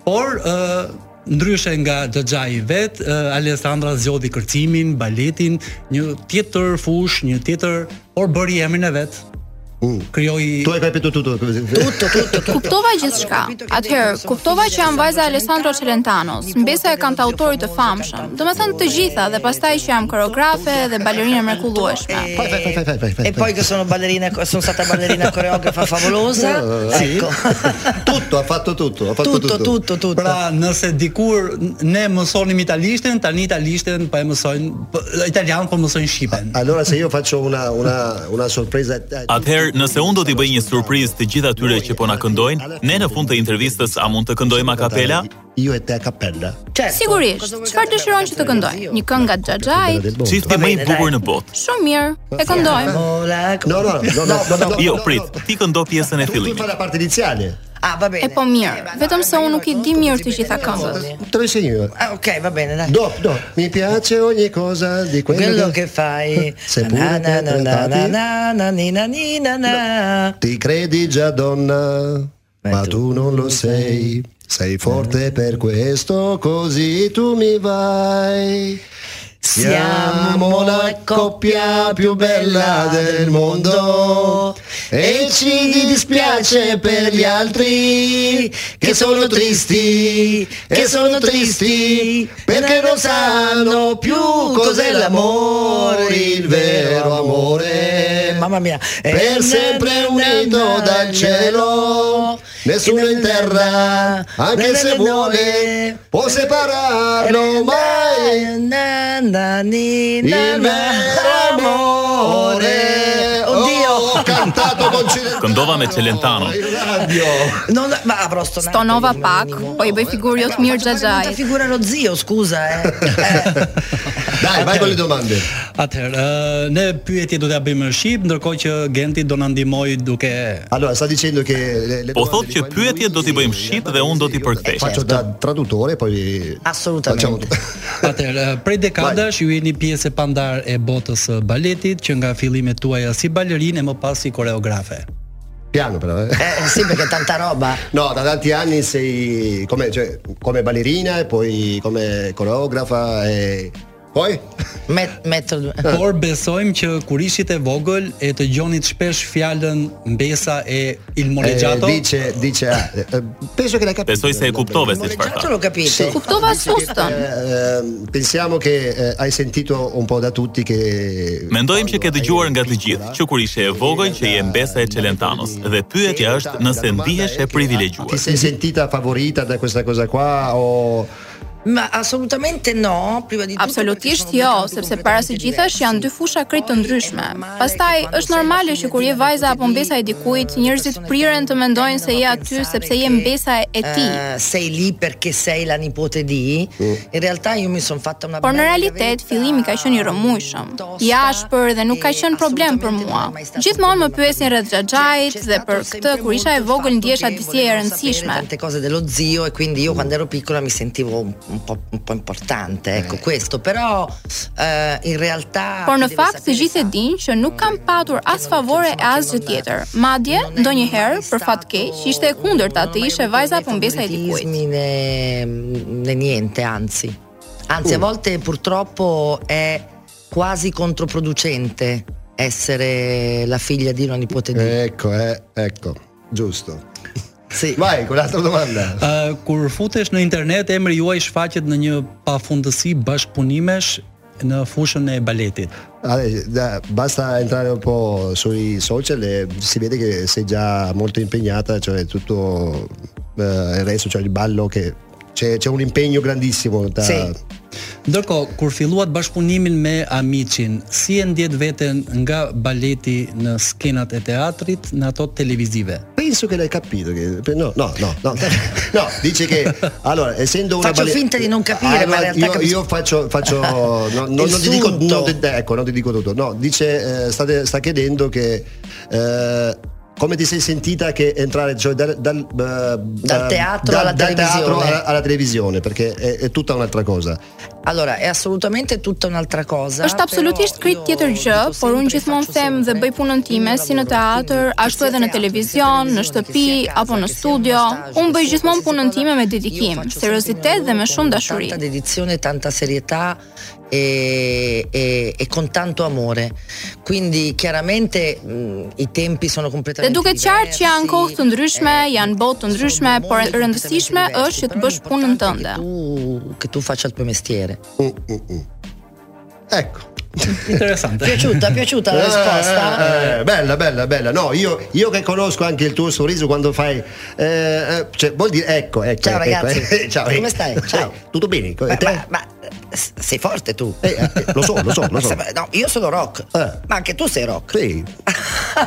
E: Por ë ndryshe nga Xhaxhai vet, ë, Alessandra zgjodhi kërcimin, baletin, një tjetër fush, një tjetër, por bëri emrin e vet. Krijoi
F: Tu e ka pitu tu tu. tu.
K: Kuptova gjithçka. Atëherë, kuptova që jam vajza e Alessandro Celentanos, mbesa e kantautorit të famshëm. Domethënë të gjitha dhe pastaj që jam koreografe dhe balerinë e mrekullueshme.
I: Eh,
F: Fai, fai, fai, fai, fai, fai.
I: E poi che sono ballerina, sono stata ballerina coreografa favolosa. Ecco.
F: Eh, Tutto, ha fatto tutto, ha fatto tutto.
I: Tutto, tutto, tutto.
E: Pra, nëse dikur n- ne mësonim italishten, tani italishten po e mësojnë p- italian po mësojnë shqipen.
F: Allora se io faccio una una una sorpresa eh,
J: Atëherë, nëse unë do t'i bëj një surprizë të gjithë atyre që po na këndojnë, ne në fund të intervistës a mund të këndojmë a cappella?
F: io e te a cappella.
I: Certo.
K: Sigurisht, çfarë dëshiron që të këndoj? Një këngë nga
F: Quella
K: Xhaxhai?
F: del mondo.
J: Çifti më i bukur në botë.
K: Shumë mirë, e këndojmë.
I: Vola con-
F: No, no, no, no, no, no, no.
J: Jo,
F: no,
J: prit,
F: no.
J: ti këndo pjesën e
F: Tu tu fai
J: fillimit.
F: la parte iniziale.
I: Ah, va bene.
K: E po mirë, vetëm se unë nuk i di mirë të gjitha këngët.
F: Te lo insegno io.
I: Ah, ok, va bene, dai.
F: Do, do, mi piace ogni cosa di quello,
I: Quello che fai.
F: Seppure
I: na na na na
F: interpretati-
I: na na ni na ni na na.
F: Ti credi già donna, ma tu non lo sei. Eh. Sei forte per questo, così tu mi vai. Siamo la coppia più bella del mondo e ci dispiace per gli altri che sono tristi, che sono tristi perché non sanno più cos'è l'amore, il vero amore.
I: Mamma mia. Eh,
F: Per
I: na,
F: sempre
I: na,
F: unito
I: na,
F: dal
I: na, Eh,
F: cielo, nessuno in terra, anche
I: na,
F: se
I: na,
F: vuole, può separarlo
I: non
F: mai.
I: na, na, ni,
F: Il
I: na,
F: vero
I: na.
F: amore
I: Oddio
F: Oh, cantato con Cile- Oh,
J: Këndova me Celentano.
I: No, no, ma prosto.
K: Stonova pak, po i bëj figurë jo të mirë
I: Xhaxhaj. Ta figura Rozio, scusa, eh.
F: Dai, vai con le domande.
E: Atëherë, ë, ne pyetje do t'ja bëjmë në shqip, ndërkohë që Genti do na ndihmoj duke
F: Allora, sta dicendo che le, le
J: Po thot që pyetje do t'i bëjmë shqip dhe unë do t'i përkthej.
F: faccio da traduttore, poi
I: Assolutamente.
F: facciamo tutto.
E: Atëherë, ë, prej dekadash ju jeni pjesë e pandar e botës së baletit, që nga fillimet tuaja si balerinë e më pas si koreografe.
F: Piano però, eh.
I: Eh, sì, perché tanta roba.
F: No, da tanti anni sei come, cioè, come ballerina po e poi come coreografa e po poi
I: Met, metro
E: Por besojmë që kur ishit e vogël e të gjonit shpesh fjalën mbesa e Il
F: eh,
E: Moleggiato.
F: dice, dice ah, eh, penso che l'hai capito.
J: Besoj se e kuptove se çfarë
I: Certo
J: tha.
I: l'ho capito.
F: Sì.
K: Kuptova sustën.
F: Eh, ehm, pensiamo che eh, hai sentito un po' da tutti che
J: Mendojmë që ke dëgjuar nga të gjithë që kur ishe e vogël që je mbesa e Celentanos dhe pyetja është nëse ndihesh e
F: Ti
J: privilegjuar.
F: sei sentita favorita da questa cosa qua o
I: Ma assolutamente no, prima di tutto
K: Absolutisht jo, sepse para së gjithash janë dy fusha krejt të ndryshme. Pastaj është normale që kur je vajza apo mbesa e dikujt, njerëzit priren të mendojnë se je aty sepse je mbesa e ti.
I: Eh, sei lì perché sei la nipote di. In realtà io mi sono fatta una
K: Por në
I: bella
K: realitet,
I: gavetta,
K: fillimi ka qenë i rëmujshëm, i ashpër dhe nuk ka
I: e
K: qenë problem për
I: assolutamente
K: mua.
I: non è mai stato
K: Gjithmonë më
I: un problema.
K: pyesin rreth
I: C'è-
K: xhaxhajt
I: c'è
K: dhe
I: stato
K: për
I: sempre
K: këtë kur isha e
I: molto
K: vogël
I: il
K: ndjesha
I: fatto
K: disi
I: che
K: e
I: volevo sapere
K: rëndësishme.
I: tante cose dello zio e quindi io quando ero piccola mi sentivo un po', un po' importante, ecco questo, però eh, in realtà
K: Por në
I: chi deve
K: fakt të
I: sapere
K: gjithë e
I: sa.
K: dinë që nuk kam patur as favore e as gjë tjetër. Madje, ndonjëherë, për fat keq, ishte e kundërta të ishe vajza apo mbesa e dikujt.
I: né, né niente, anzi. Anzi, a volte purtroppo è quasi controproducente essere la figlia di una nipote di.
F: ecco, eh, ecco, giusto.
I: Sì.
F: Vai con l'altra domanda.
E: Ë, eh, kur futesh në internet, emri juaj shfaqet në një pafundësi bashkëpunimesh në fushën e baletit.
F: Vabbè, Ah, eh, da- basta entrare un po' sui social e si vede che sei già molto impegnata, cioè tutto eh, il resto, cioè il ballo che c'è, c'è un impegno grandissimo da
I: Sì.
E: Ndërkohë, kur filluat bashkëpunimin me Amicin, si e ndjet veten nga baleti në skenat e teatrit, në ato televizive?
F: Penso che l'hai capito. Che... pe- No, no, no, no. No, dice che allora, essendo una
I: Faccio finta di non capire, ma in realtà
F: io,
I: capisco.
F: io faccio, faccio no, no, non, ti dico,
I: sunto.
F: non ti- ecco, non ti dico tutto. No, dice eh, state- sta chiedendo che eh, come ti sei sentita che entrare cioè, dal, dal, eh, da-
I: teatro alla
F: dal teatro
I: televisione.
F: alla, alla televisione, perché è, è tutta un'altra cosa.
I: Allora, è assolutamente tutta un'altra cosa.
K: Është absolutisht krejt tjetër gjë, por unë gjithmonë them dhe bëj punën time si në teatr, ashtu edhe në televizion, në shtëpi apo në studio. Unë bëj gjithmonë punën time me dedikim, seriozitet dhe me shumë dashuri.
I: Tanta dedizione, tanta serietà e, e- e con tanto amore. Quindi chiaramente mh, i tempi sono
K: Dhe
I: completamente Eh,
K: duket qartë që janë kohë të ndryshme, janë botë të ndryshme, por e rëndësishme është që të bësh punën tënde.
I: Tu che tu faccia il tuo mestiere.
F: Mm, mm, mm. Ecco.
E: Interesante.
I: Piaciuta, piaciuta la risposta?
F: Eh, eh, bella, bella, bella. No, io, io che conosco anche il tuo sorriso quando fai. eh, eh, cioè, vuol dire. Ecco, ecco.
I: Ciao,
F: ecco,
I: ragazzi.
F: eh, ciao,
I: Come
F: eh.
I: stai? Ciao. Eh,
F: Tutto bene? E
I: Ma,
F: te?
I: ma- ma, eh, sei forte tu.
F: Eh, eh, lo so, lo so, lo
I: Ma
F: so.
I: sa- no, io sono rock,
F: Eh.
I: ma anche tu sei rock.
F: Sì.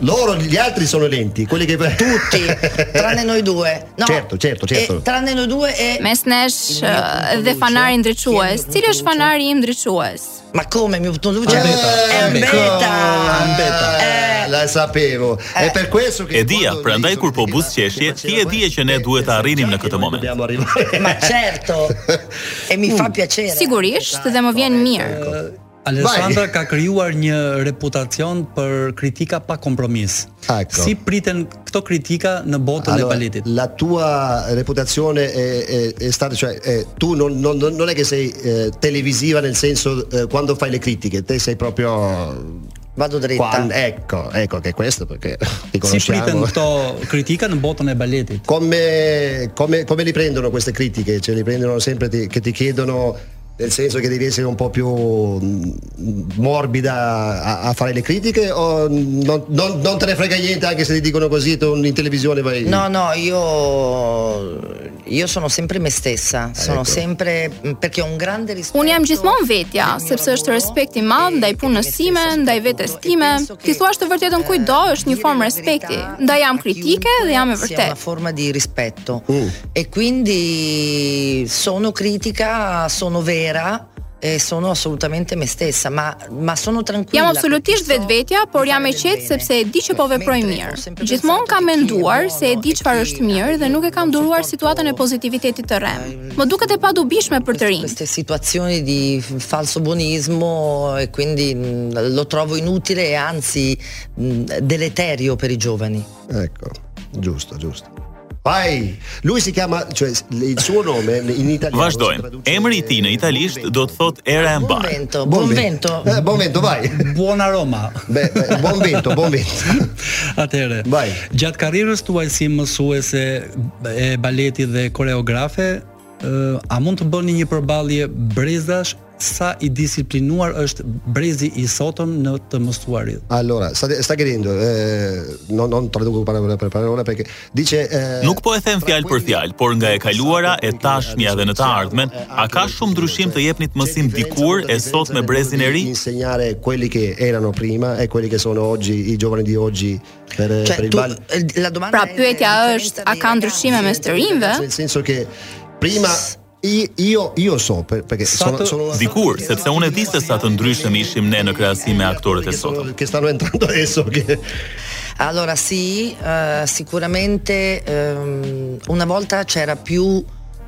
F: Loro, gli altri sono lenti, quelli che.
I: Tutti, tranne noi due. No,
F: Certo, certo, certo.
I: e tranne noi due e...
K: Mes nesh ë, dhe fanari ndriçues. Cili është fanari im ndriçues?
I: Ma come mi produce?
E: Ambeta,
I: È
E: ambeta.
I: beta.
F: Ambeta. Eh, la sapevo. È
I: Eh.
F: per questo che.
J: E dia,
F: quando
J: prandaj
F: dico
J: kur po
F: che ti
J: buz
F: faccio-
J: qeshje,
F: ti
J: ti e di që ne duhet të arrinim në
F: Già che
J: këtë
F: noi
J: moment.
F: Dobbiamo arrivare.
I: Ma certo. E mi fa piacere.
K: Sigurisht dhe më vjen mirë.
E: Alessandra ka krijuar një reputacion për kritika pa kompromis.
F: Ecco.
E: Si priten këto kritika në botën
F: Allora,
E: e baletit?
F: La tua reputazione è, è- è stata, cioè, eh, tu non, non- non- non è che sei eh, televisiva nel senso eh, quando fai le critiche, te sei proprio.
I: Vado dritta.
F: Qua- ecco, ecco che è questo perché ti
E: Si priten
F: conosciamo.
E: këto kritika në botën e baletit?
F: Come, come- come li prendono queste critiche? Cioè, li prendono sempre ti- che ti chiedono Nel senso che devi essere un po' più mh, morbida a, a fare le critiche o non, non- non te ne frega niente anche se ti dicono così tu in televisione vai...
I: No, no, io, io sono sempre me stessa, sono sempre perché ho un grande rispetto.
K: Unë jam gjithmonë vetja, sepse është respekt i madh ndaj punës time, ndaj vetes time. Ti thua të
I: eh,
K: vërtetën kujdo është një formë respekti. Ndaj jam kritike dhe jam e
I: Sia una
K: vërtetë.
I: forma di rispetto
F: Mm.
I: e quindi sono critica, sono vera e sono assolutamente me stessa, ma, ma sono tranquilla.
K: Jam absolutisht vetvetja, por jam e qetë sepse e
I: Cioè,
K: di që po veproj mirë. Gjithmonë kam menduar se e di çfarë është mirë dhe nuk e kam duruar situatën e pozitivitetit të rrem. Më duket e padobishme për të rinj.
I: queste situazioni di falso buonismo e quindi mh, lo trovo inutile e anzi mh, deleterio per i giovani.
F: Ecco, giusto, giusto. Vai! Lui si chiama, cioè il suo nome in italiano...
J: Vazhdojmë. Emri i tij në italisht do të thotë era e mbar.
I: Vento,
F: Buon
I: buon
F: vento.
I: vento.
F: Eh, buon vento, vai!
E: Buon aroma.
F: Beh, eh, buon vento, buon vento.
E: Atëre.
F: Vaj.
E: Gjatë karrierës tuaj si mësuese e baletit dhe koreografe, ë, a mund të bëni një përballje brezash sa i disiplinuar është brezi i sotëm në të mësuarit?
F: Allora, sta, sta chiedendo, eh, no- non traduco parola per parola perché dice... eh,
J: Nuk po e them fjalë për fjalë, por nga e kaluara, e tashmja dhe në të ardhmen, a ka shumë ndryshim të jepnit mësim dikur e sot me brezin e ri?
F: Insegnare quelli che erano prima e quelli che sono oggi, i giovani di oggi per, per
I: Cioè,
F: il
I: tu,
F: ballo.
I: eh, la domanda
K: Pra
I: è-
K: pyetja është, a ka ndryshime mes të
I: Eh
K: rinjve?
F: Nel senso che prima i- io, io so per- perché sono,
E: Stato-
F: sono una-
J: Dikur, sepse unë e di se sa të ndryshëm ishim ne në krahasim me aktorët e
F: che, sono-
J: sotëm.
F: che stanno entrando adesso che
I: Allora sì, eh, sicuramente ehm, una volta c'era più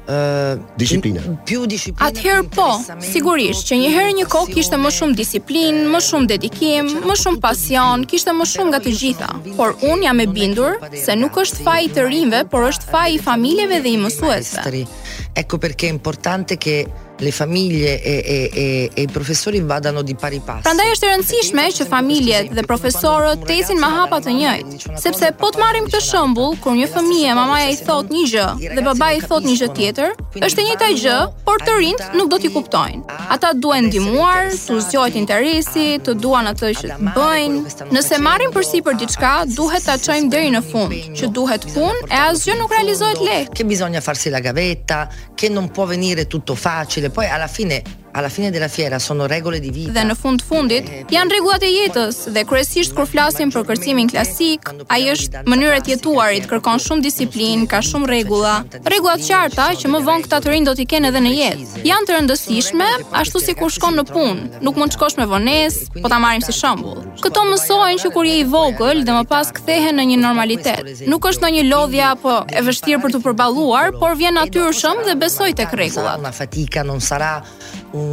I: eh,
F: Disciplina.
I: in- più disciplina.
K: Atëherë
I: più
K: po,
I: interessamento,
K: sigurisht që një herë një kohë kishte më shumë disiplinë, më shumë dedikim, më shumë pasion, kishte më shumë nga të gjitha. Por unë jam e bindur se nuk është faji i të rinjve, por është faji i familjeve dhe i mësuesve.
I: maestri. Ecco perché è importante che le famiglie e, e- e- e i professori vadano di pari passo.
K: Prandaj është e rëndësishme që familjet dhe profesorët të ecin me hapa të njëjtë, sepse po të marrim këtë shembull kur një fëmijë mamaja i thot një gjë dhe babai i thot një gjë tjetër, është e njëjta gjë, por të rinjt nuk do t'i kuptojnë. Ata duhen ndihmuar, të zgjohet interesi, të duan atë që të bëjnë. Nëse marrin përsipër diçka, duhet ta çojmë deri në fund, që duhet punë e asgjë nuk realizohet lehtë.
I: Che bisogna farsi la gavetta, che non può venire tutto facile. Poi alla fine, alla fine della fiera sono regole di vita.
K: dhe në fund fundit janë rregullat e jetës dhe kryesisht kur flasim për kërcimin klasik, ai është mënyra e jetuarit, kërkon shumë disiplinë, ka shumë rregulla, rregulla të qarta që më vonë këta të rinj do t'i kenë edhe në jetë. Janë të rëndësishme ashtu si kur shkon në punë, nuk mund të shkosh me vonesë, po ta marrim si shembull. Këto mësojnë që kur je i vogël dhe më pas kthehen në një normalitet. Nuk është ndonjë lodhje apo e vështirë për të përballuar, por vjen natyrshëm dhe besoj tek
I: sarà
K: rregullat.
I: una fatica, non sarà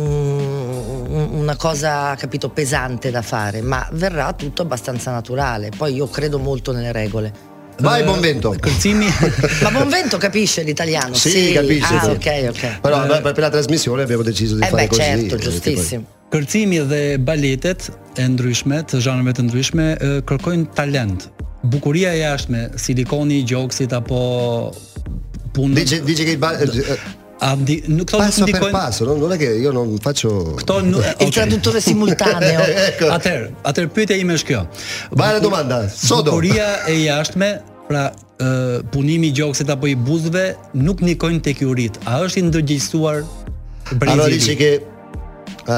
I: un- un- una cosa, capito, pesante da fare, ma verrà tutto abbastanza naturale. Poi io credo molto nelle regole.
F: vai buon vento
E: Kërcimi
I: Ma buon vento capisce l'italiano?
F: Sì, capisce,
I: Ah,
F: sì.
I: ok, ok.
F: però noi per per la trasmissione abbiamo deciso di
I: Eh
F: fare
I: beh,
F: così
I: certo,
F: eh,
I: giustissimo.
E: Kërcimi dhe baletet e ndryshme, të zhanreve të ndryshme, e, kërkojnë talent. Bukuria e jashtme, silikoni i gjoksit apo punë
F: dice, dice che il ba- eh, eh,
E: a ndi, nuk thonë
F: passo per
E: ndikojnë-
F: passo non, non è che io non faccio
E: Këto nuk
I: Il
E: okay.
I: traduttore simultaneo.
E: Atëherë, atëherë pyetja ime është kjo.
F: Vaje
E: Bukur-
F: domanda, sodo.
E: Bukuria e jashtme, pra ë, punimi i gjoksit apo i buzëve nuk nikojnë tek jurit. A është i ndërgjegjësuar
F: allora
E: brezi?
F: dice
E: i ri?
F: che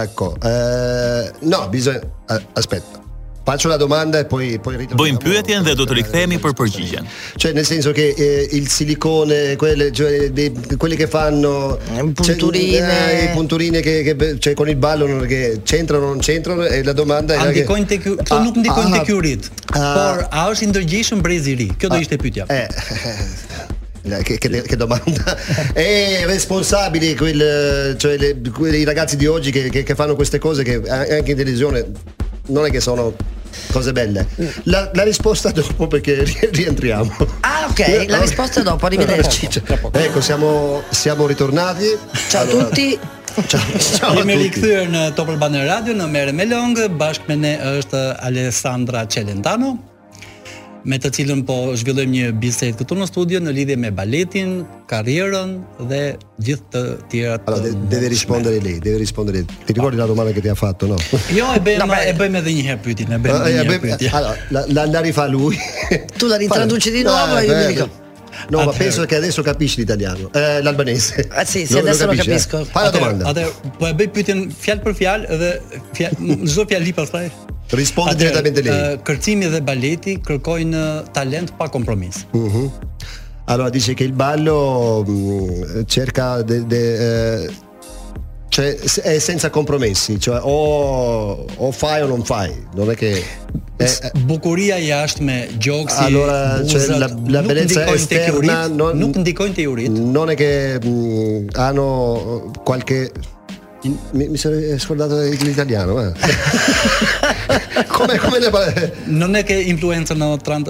F: ecco eh, no bisogna eh, aspetta faccio la domanda e poi poi ritorniamo.
J: Bëjmë pyetjen dhe do të rikthehemi për përgjigjen.
F: Cioè, nel senso che eh, il silicone, quelle, cioè, dei- quelli che fanno cioè,
I: punturine.
F: eh, i punturine che, che- cioè, con il ballo non- che c'entrano o non c'entrano, e la domanda
E: A
F: era che,
E: ndikojnë tek ju- këto
F: Ah,
E: nuk ndikojnë
F: ah,
E: tek jurit.
F: ah.
E: Por a është i ndërgjegjshëm brezi i ri? Kjo do ishte pyetja.
F: eh, eh, che, che- che domanda e responsabili quel, cioè, le- quei ragazzi di oggi che, che- che fanno queste cose che a- anche in televisione non è che sono cose belle la, la risposta dopo perché ri- rientriamo
I: Ah, ok, la risposta è dopo, arrivederci.
F: ecco siamo, siamo ritornati
I: Ciao a
F: Allora,
I: tutti.
F: ciao, ciao a
E: Jemi
F: tutti
E: rikthyer në Top Albana Radio në Merë me Longë, bashkë me ne është Alessandra Celentano. me të cilën po zhvillojmë një bisedë këtu në studio në lidhje me baletin, karrierën dhe gjithë të tjerat.
F: Allora, de- deve rispondere lei, deve rispondere lei. Ti ricordi la domanda che ti ha fatto, no?
E: Jo, e bëjmë e bëjmë edhe një herë pyetjen, e
F: Eh,
E: bëjmë
F: eh,
E: edhe një
F: beh,
E: herë pyetje.
F: allora, la, la, la rifà lui.
I: Tu la ritraduci di
F: Fare-
I: nuovo e io
F: eh,
I: mi
F: beh,
I: dico.
F: No, ma
E: Allora.
F: penso che adesso capisci l'italiano, eh, l'albanese.
I: Ah, sì, sì,
F: No,
I: adesso lo
F: capisci, eh.
I: capisco.
F: Fai la domanda.
E: Atë po e bëj pyetjen fjalë për fjalë dhe fjalë çdo fjalë pastaj.
F: Risponde
E: Atëherë,
F: direttamente lei.
E: ë, Kërcimi dhe baleti kërkojnë talent pa kompromis.
F: Mhm. Allora dice che il ballo mh, cerca de- de- eh, cioè, se- è senza compromessi, cioè o, o fai o non fai, non è che eh, eh,
E: Bukuria jashtme, gjoksi,
F: Allora,
E: buzat,
F: cioè, la- la
E: nuk
F: bellezza
E: ndikojnë tek
F: esterna
E: jurit,
F: non-
E: nuk ndikojnë te jurit.
F: non è che mh, hanno qualche mi, mi sono scordato l'italiano, ma come, come le parole?
E: Non e ke influencën në trant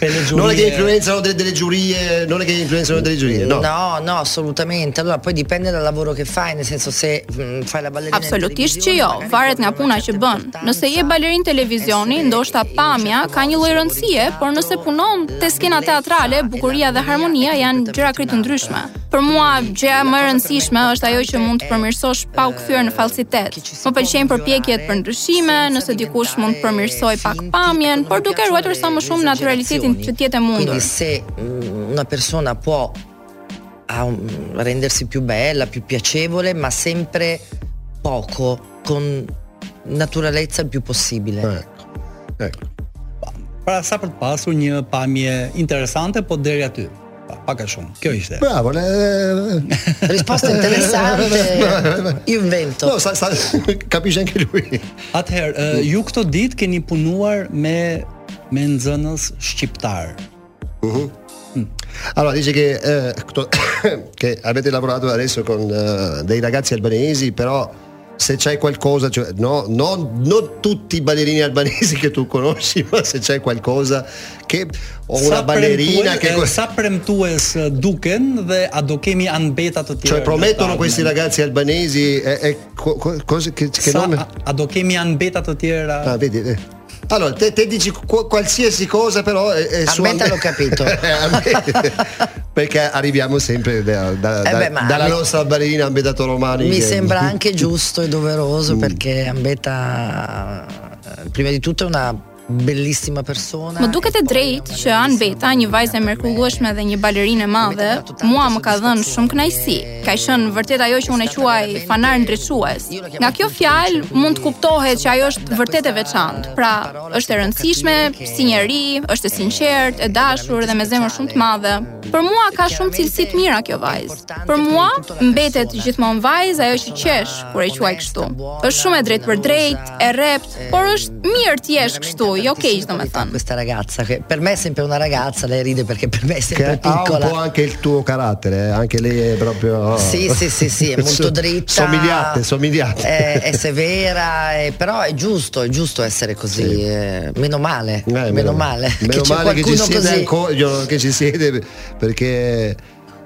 E: pele gjurie.
F: Non è che influenzano delle, delle giurie, non è che influenzano delle giurie, no.
I: No, no, assolutamente. Allora poi dipende dal lavoro che fai, nel senso se mm, fai la ballerina in
K: Absolutisht që
I: televisione,
K: jo,
I: magari
K: varet nga
I: porti una
K: puna
I: certa
K: që bën. Nëse je
I: importanza. Eh,
K: balerin televizioni,
I: essere
K: ndoshta
I: in un
K: pamja
I: certo
K: ka një lloj
I: modo simbolizzata,
K: rëndësie, por nëse punon te skena
I: bellezza
K: teatrale,
I: e la
K: bukuria dhe
I: armonia
K: harmonia
I: è
K: janë gjëra krejt të
I: completamente
K: ndryshme. Për mua gjëja më e rëndësishme është ajo që mund të përmirësosh pa u kthyer
I: eh,
K: në falsitet. Më pëlqejnë përpjekjet për ndryshime, nëse dikush mund të përmirësoj pak pamjen, por duke ruajtur sa më shumë naturalitetin që tjetë e mundur.
I: Quindi se mm, una persona può ah, um, rendersi più bella, più piacevole, ma sempre poco, con naturalezza il più possibile.
F: Ecco, ecco.
E: Pra sa për të pasur një pamje interesante, po deri aty. Pa, pak a shumë. Kjo ishte.
F: Bravo, le- eh,
I: Risposta interessante, io invento.
F: no, sta- sta- capisce anche lui.
E: Atëherë, ë, ju këto ditë keni punuar me me nxënës shqiptar.
F: Allora, dice che, eh, to- che avete lavorato adesso con eh, dei ragazzi albanesi, però se c'è qualcosa, cioè, no, non- non tutti i ballerini albanesi che tu conosci, ma se c'è qualcosa che o Po, una ballerina
E: premtues-
F: che...
E: ë, sa premtues ë, duken dhe a do kemi anbeta të tjera?
F: Cioè promettono
E: në
F: questi
E: tablet?
F: ragazzi albanesi e, e co- co- cose che, che
E: Sa,
F: non...
E: a, a do kemi anbeta të tjera?
F: Ah, vedi, eh. Allora, te, te dici qu- qualsiasi cosa, però eh, è, è su-
I: Ammetta l'ho capito.
F: Ammetta. Perché arriviamo sempre da- da-
I: Eh
F: da-
I: beh, ma
F: dalla
I: mi-
F: nostra ballerina Ambedato Romani.
I: Mi
F: che-
I: sembra anche giusto e doveroso perché Ambeta, eh, prima di tutto, è una bellissima persona.
K: Më duket e drejtë që An Beta, një vajzë e mrekullueshme dhe një balerinë e madhe, mua më ka dhënë shumë kënaqësi. Ka qenë vërtet ajo që unë e quaj fanar ndriçues. Nga kjo fjalë mund të kuptohet që ajo është vërtet e veçantë. Pra, është e rëndësishme si njeri, është e sinqert, e dashur dhe me zemër shumë të madhe. Për mua ka shumë cilësi të mira kjo vajzë. Për mua mbetet gjithmonë vajzë ajo që qesh kur e quaj kështu. Është shumë e drejtë për drejtë, e rept, por është mirë të jesh kështu, jo keq domethënë.
I: Questa ragazza, che per me è sempre una ragazza, lei ride perché per me è
F: che
I: sempre
F: ha un po'
I: piccola.
F: anche il tuo carattere, eh, anche lei è proprio...
I: Sì, sì, sì, sì, è molto
F: So-
I: dritta. Eh,
F: Somigliate, somigliate.
I: È, è severa, è- però è giusto, è giusto essere così.
F: Sì.
I: eh, meno male,
F: Eh,
I: meno, male.
F: meno
I: c'è
F: male che ci
I: qualcuno
F: siete
I: così.
F: ancora, io- che ci siete perché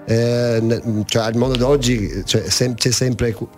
F: eh, n- cioè, al mondo d'oggi cioè, sem- c'è sempre cu-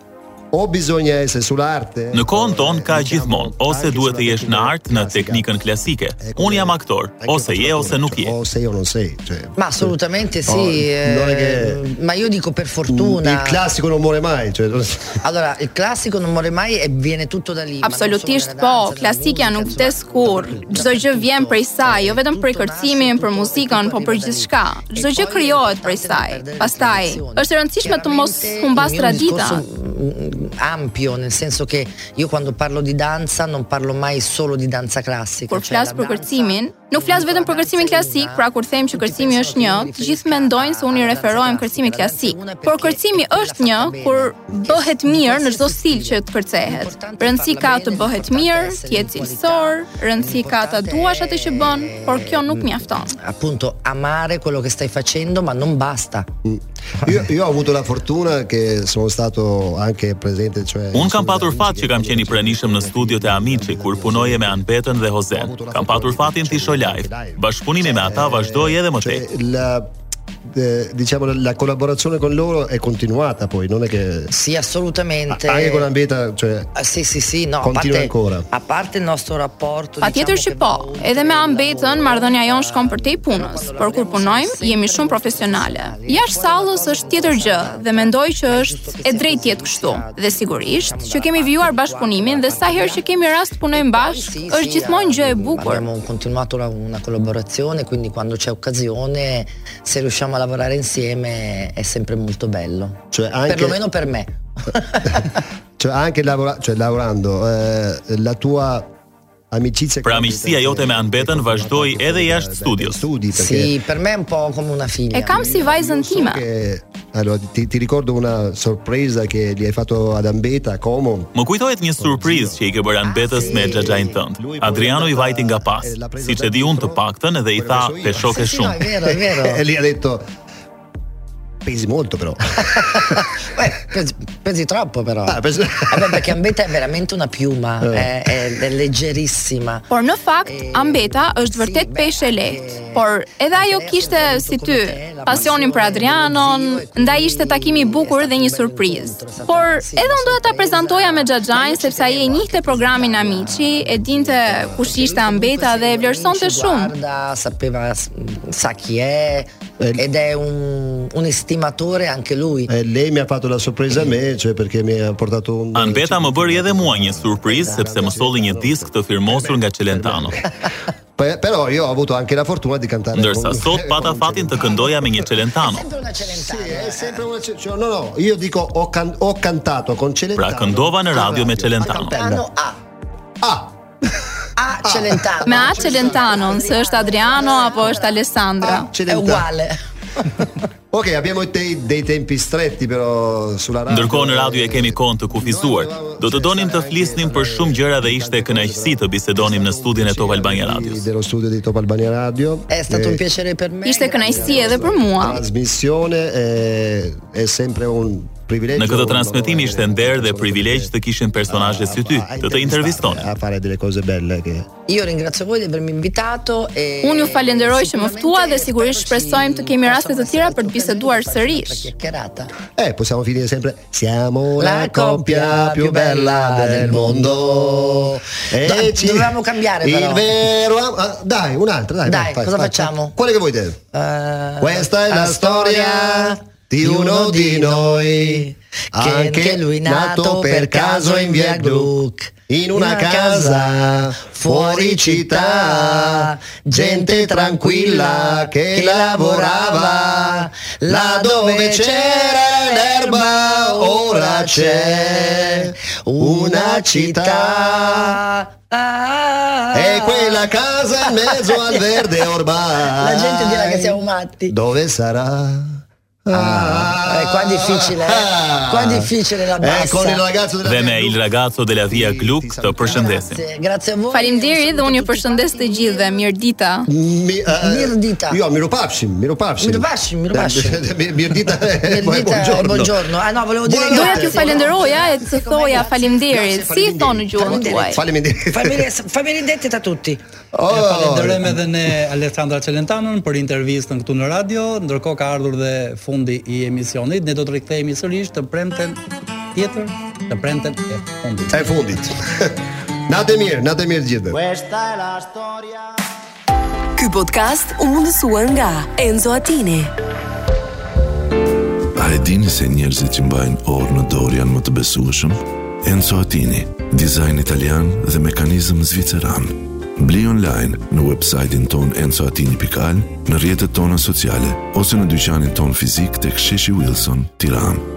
F: o bisogna essere sull'arte
J: Në kohën
F: ton
J: tonë ka gjithmonë, ose duhet të jesh në art, në teknikën klasike. Unë jam aktor, ose je ose nuk je.
F: O sei o jo, non sei. cioè,
I: Ma assolutamente sì,
F: Oh,
I: eh,
F: non è che-
I: ma io dico per
F: Il
I: fortuna.
F: classico non muore mai. Cioè, non-
I: Allora, il classico non muore mai e viene tutto da lì. ma non solo
K: Absolutisht
I: nella danza,
K: po,
I: nella
K: klasikja
I: musica,
K: nuk
I: insomma,
K: vdes kur.
I: tutto, tutto,
K: Çdo gjë vjen prej saj, jo
I: tutto,
K: vetëm prej
I: tutto
K: kërcimit,
I: nasce,
K: për
I: tutto-
K: muzikën,
I: tutto
K: po për
I: arriva da lì.
K: gjithçka.
I: E
K: Çdo gjë
I: poi
K: krijohet
I: l'importante
K: prej
I: è
K: saj.
I: perdere le
K: Pastaj,
I: tradizioni.
K: është e rëndësishme të mos
I: Chiaramente
K: humbas
I: il mio
K: tradita.
I: discorso, mm, ampio, nel senso che io quando parlo di danza non parlo mai solo di danza classica.
K: Kur
I: cioè
K: flas
I: la
K: për
I: danza-
K: kërcimin, nuk flas vetëm për kërcimin klasik, pra kur them që
I: Tutti
K: kërcimi
I: pensano
K: është
I: che
K: një,
I: mi
K: të
I: riferisca
K: gjithë mendojnë se unë i
I: alla danza
K: referohem
I: classica,
K: kërcimit
I: la danza
K: klasik,
I: una
K: por
I: perché-
K: kërcimi
I: perché
K: është
I: l'ha
K: një
I: fatta
K: kur
I: bene.
K: bëhet mirë në çdo stil që të kërcehet.
I: L'importante è
K: Rëndësi ka të
I: farla bene,
K: bëhet
I: l'importante è
K: mirë,
I: essere
K: të jetë
I: di
K: cilësor,
I: qualità,
K: rëndësi ka ta
I: l'importante
K: duash atë që bën,
I: è-
K: por kjo nuk mjafton.
I: appunto amare quello che stai facendo ma non basta
F: io, io ho avuto la jo, fortuna che sono stato anche presente. Cioè,
J: Unë kam patur fat që kam qenë i pranishëm në studiot e Amici, kur punoje me Anbetën dhe Hozen. Kam patur fatin të isho live. Bashkëpunimi me ata vazhdoj edhe më tej.
F: Cioè, la- eh, diciamo la collaborazione con loro è continuata poi, non è che
I: Sì, assolutamente.
F: anche con Ambeta, cioè
I: Ah, Sì, sì, sì, no,
F: Continua
I: a parte, Ah.
F: ancora.
I: A parte il nostro rapporto
K: Pa tjetër që po, edhe me ambetën, marrëdhënia jonë shkon për te i punës, por kur punojmë, jemi shumë profesionale. Jashtë sallës është tjetër gjë dhe mendoj që është e drejtë jetë kështu. Dhe sigurisht që kemi vijuar bashkëpunimin dhe sa herë që kemi rast të punojmë bashkë, është gjithmonë gjë e bukur.
I: Abbiamo continuato la- una collaborazione, quindi quando c'è occasione, se riusciamo a lavorare insieme è sempre molto bello.
F: Cioè, anche-
I: Perlomeno per me.
F: cioè anche lavora- cioè, lavorando eh, la tua amicizia
J: Pra miqësia jote me Anbetën vazhdoi edhe jashtë studios.
F: studi perché
I: Sì, per me è un po' come una figlia.
K: E kam si vajzën time.
F: Eh, che- allora, ti, ti ricordo una sorpresa che gli hai fatto ad Ambeta a Como.
J: Më kujtohet një surprizë që i ke bërë Anbetës me xhaxhain tënd. Adriano i vajti nga pas, siç e di unë të paktën dhe i tha te shoke
I: Sì, no, è
J: shumë.
I: vero, è
F: E
I: vero.
F: lì ha detto pesi molto però.
I: Beh, pesi, pesi troppo però.
F: Ah, pesi- Eh.
I: Vabbè, perché Ambeta è veramente una piuma, è, è- è leggerissima.
K: Por në fakt, Ambeta është vërtet peshe e lehtë, por edhe ajo kishte si ty pasionin për Adrianon, ndaj ishte takimi i bukur dhe një surprizë. Por edhe unë doja ta prezantoja me Xhaxhain sepse ai e njihte programin Amici, e dinte kush ishte Ambeta dhe e vlerësonte shumë.
I: Guarda, sapeva, sa chi è ed è un, un estimatore anche lui.
F: E lei mi ha fatto la sorpresa a me, cioè perché mi ha portato un
J: Anbeta më bëri edhe mua një surprizë sepse më solli një disk të firmosur nga Celentano.
F: Pe- Però io ho avuto anche la fortuna di cantare
J: Ndërsa
F: con-
J: sot pata fatin të këndoja me një Celentano.
I: Sempre una eh. celentana.
F: È sempre una ce- cioè, no, no, io dico ho, can- ho cantato con Celentano. Ah,
J: Pra këndova në
F: a
J: radio me
F: a
J: Celentano.
F: cappella.
I: Celentano A.
F: Ah,
I: A Celentano.
K: Me atë Celentanon, se është Adriano apo është Alessandra.
I: È
F: Celentano.
I: uguale.
F: Ok, abbiamo dei, dei tempi stretti però sulla radio. eh,
J: Ndërkohë në radio e kemi kohën të kufizuar. Do të donim të flisnim për shumë gjëra dhe ishte kënaqësi të bisedonim në studion e Top Albania Radios.
F: Dello studio di Top Albania Radio.
I: È stato
F: Eh,
I: un piacere per me.
K: Ishte kënaqësi edhe për mua.
F: Trasmissione eh, è sempre un privilegio.
J: Në këtë
F: un
J: transmetim
F: onore,
J: ishte nder dhe privilegj të kishin personazhe si ty,
F: a- a
J: të të
F: intervistare,
J: intervistonin.
F: A fare delle cose belle che
I: Io ringrazio voi di avermi invitato e
K: Unë ju falenderoj që më ftua dhe sigurisht shpresojmë të
I: Sicuramente
K: kemi raste të tjera për të biseduar
I: Fare
K: sërish.
I: un'altra chiacchierata.
F: Eh, possiamo finire sempre Siamo la,
I: La
F: coppia più bella del mondo
I: Do- dovevamo cambiare,
F: Il
I: però.
F: vero am- ah, Dai, un'altra, dai
I: Dai,
F: vai, fai,
I: cosa
F: fai.
I: facciamo?
F: Quale che vuoi te?
I: Eh,
F: Questa è la storia di uno di noi
I: che anche lui nato per caso in via Gluck
F: in una casa fuori città, gente tranquilla che lavorava, là dove c'era l'erba ora c'è una città. E quella casa in mezzo al verde ormai.
I: La gente dirà che siamo matti.
F: Dove sarà?
I: Ah, eh, qua è difficile, eh. Qua è difficile la bassa.
F: Ah. Eh, con il ragazzo della
J: Dhe me
F: Via
J: Il
F: Gluck.
J: Ragazzo della Via Gluck të përshëndesim.
I: Grazie, grazie a voi.
K: Faleminderit dhe unë ju përshëndes të gjithëve. Mirë dita.
F: Mi, eh,
I: Mirdita.
F: Io Miropapshim, Miropapshim.
I: Miropapshim, Miropapshim.
F: Eh, mi- Mirdita, eh,
I: Mirdita,
F: poi buongiorno.
I: buongiorno. Ah, no, volevo dire
F: Buonanotte.
K: Doja t'ju falenderoja e të thoja faleminderit. Si e thonë në gjuhën tuaj?
F: Faleminderit.
I: Famiglie, famiglie dette da tutti.
E: E falenderojmë
F: Oh,
E: edhe ne Alessandra Celentanon për intervistën këtu në radio, ndërkohë ka ardhur dhe fundi i emisionit. Ne do të rikthehemi sërish të premten tjetër, të premten e fundit.
F: e fundit. Natë e mirë, natë e mirë gjithëve.
A: Ky podcast u mundësuar nga Enzo Attini.
B: A e dini se njerëzit që mbajnë orë në dorë janë më të besueshëm? Enzo Attini, dizajn italian dhe mekanizëm zviceran. Bli online në websajtin ton enzoatini.al, në rjetët tona sociale, ose në dyqanin ton fizik të ksheshi Wilson, tiranë.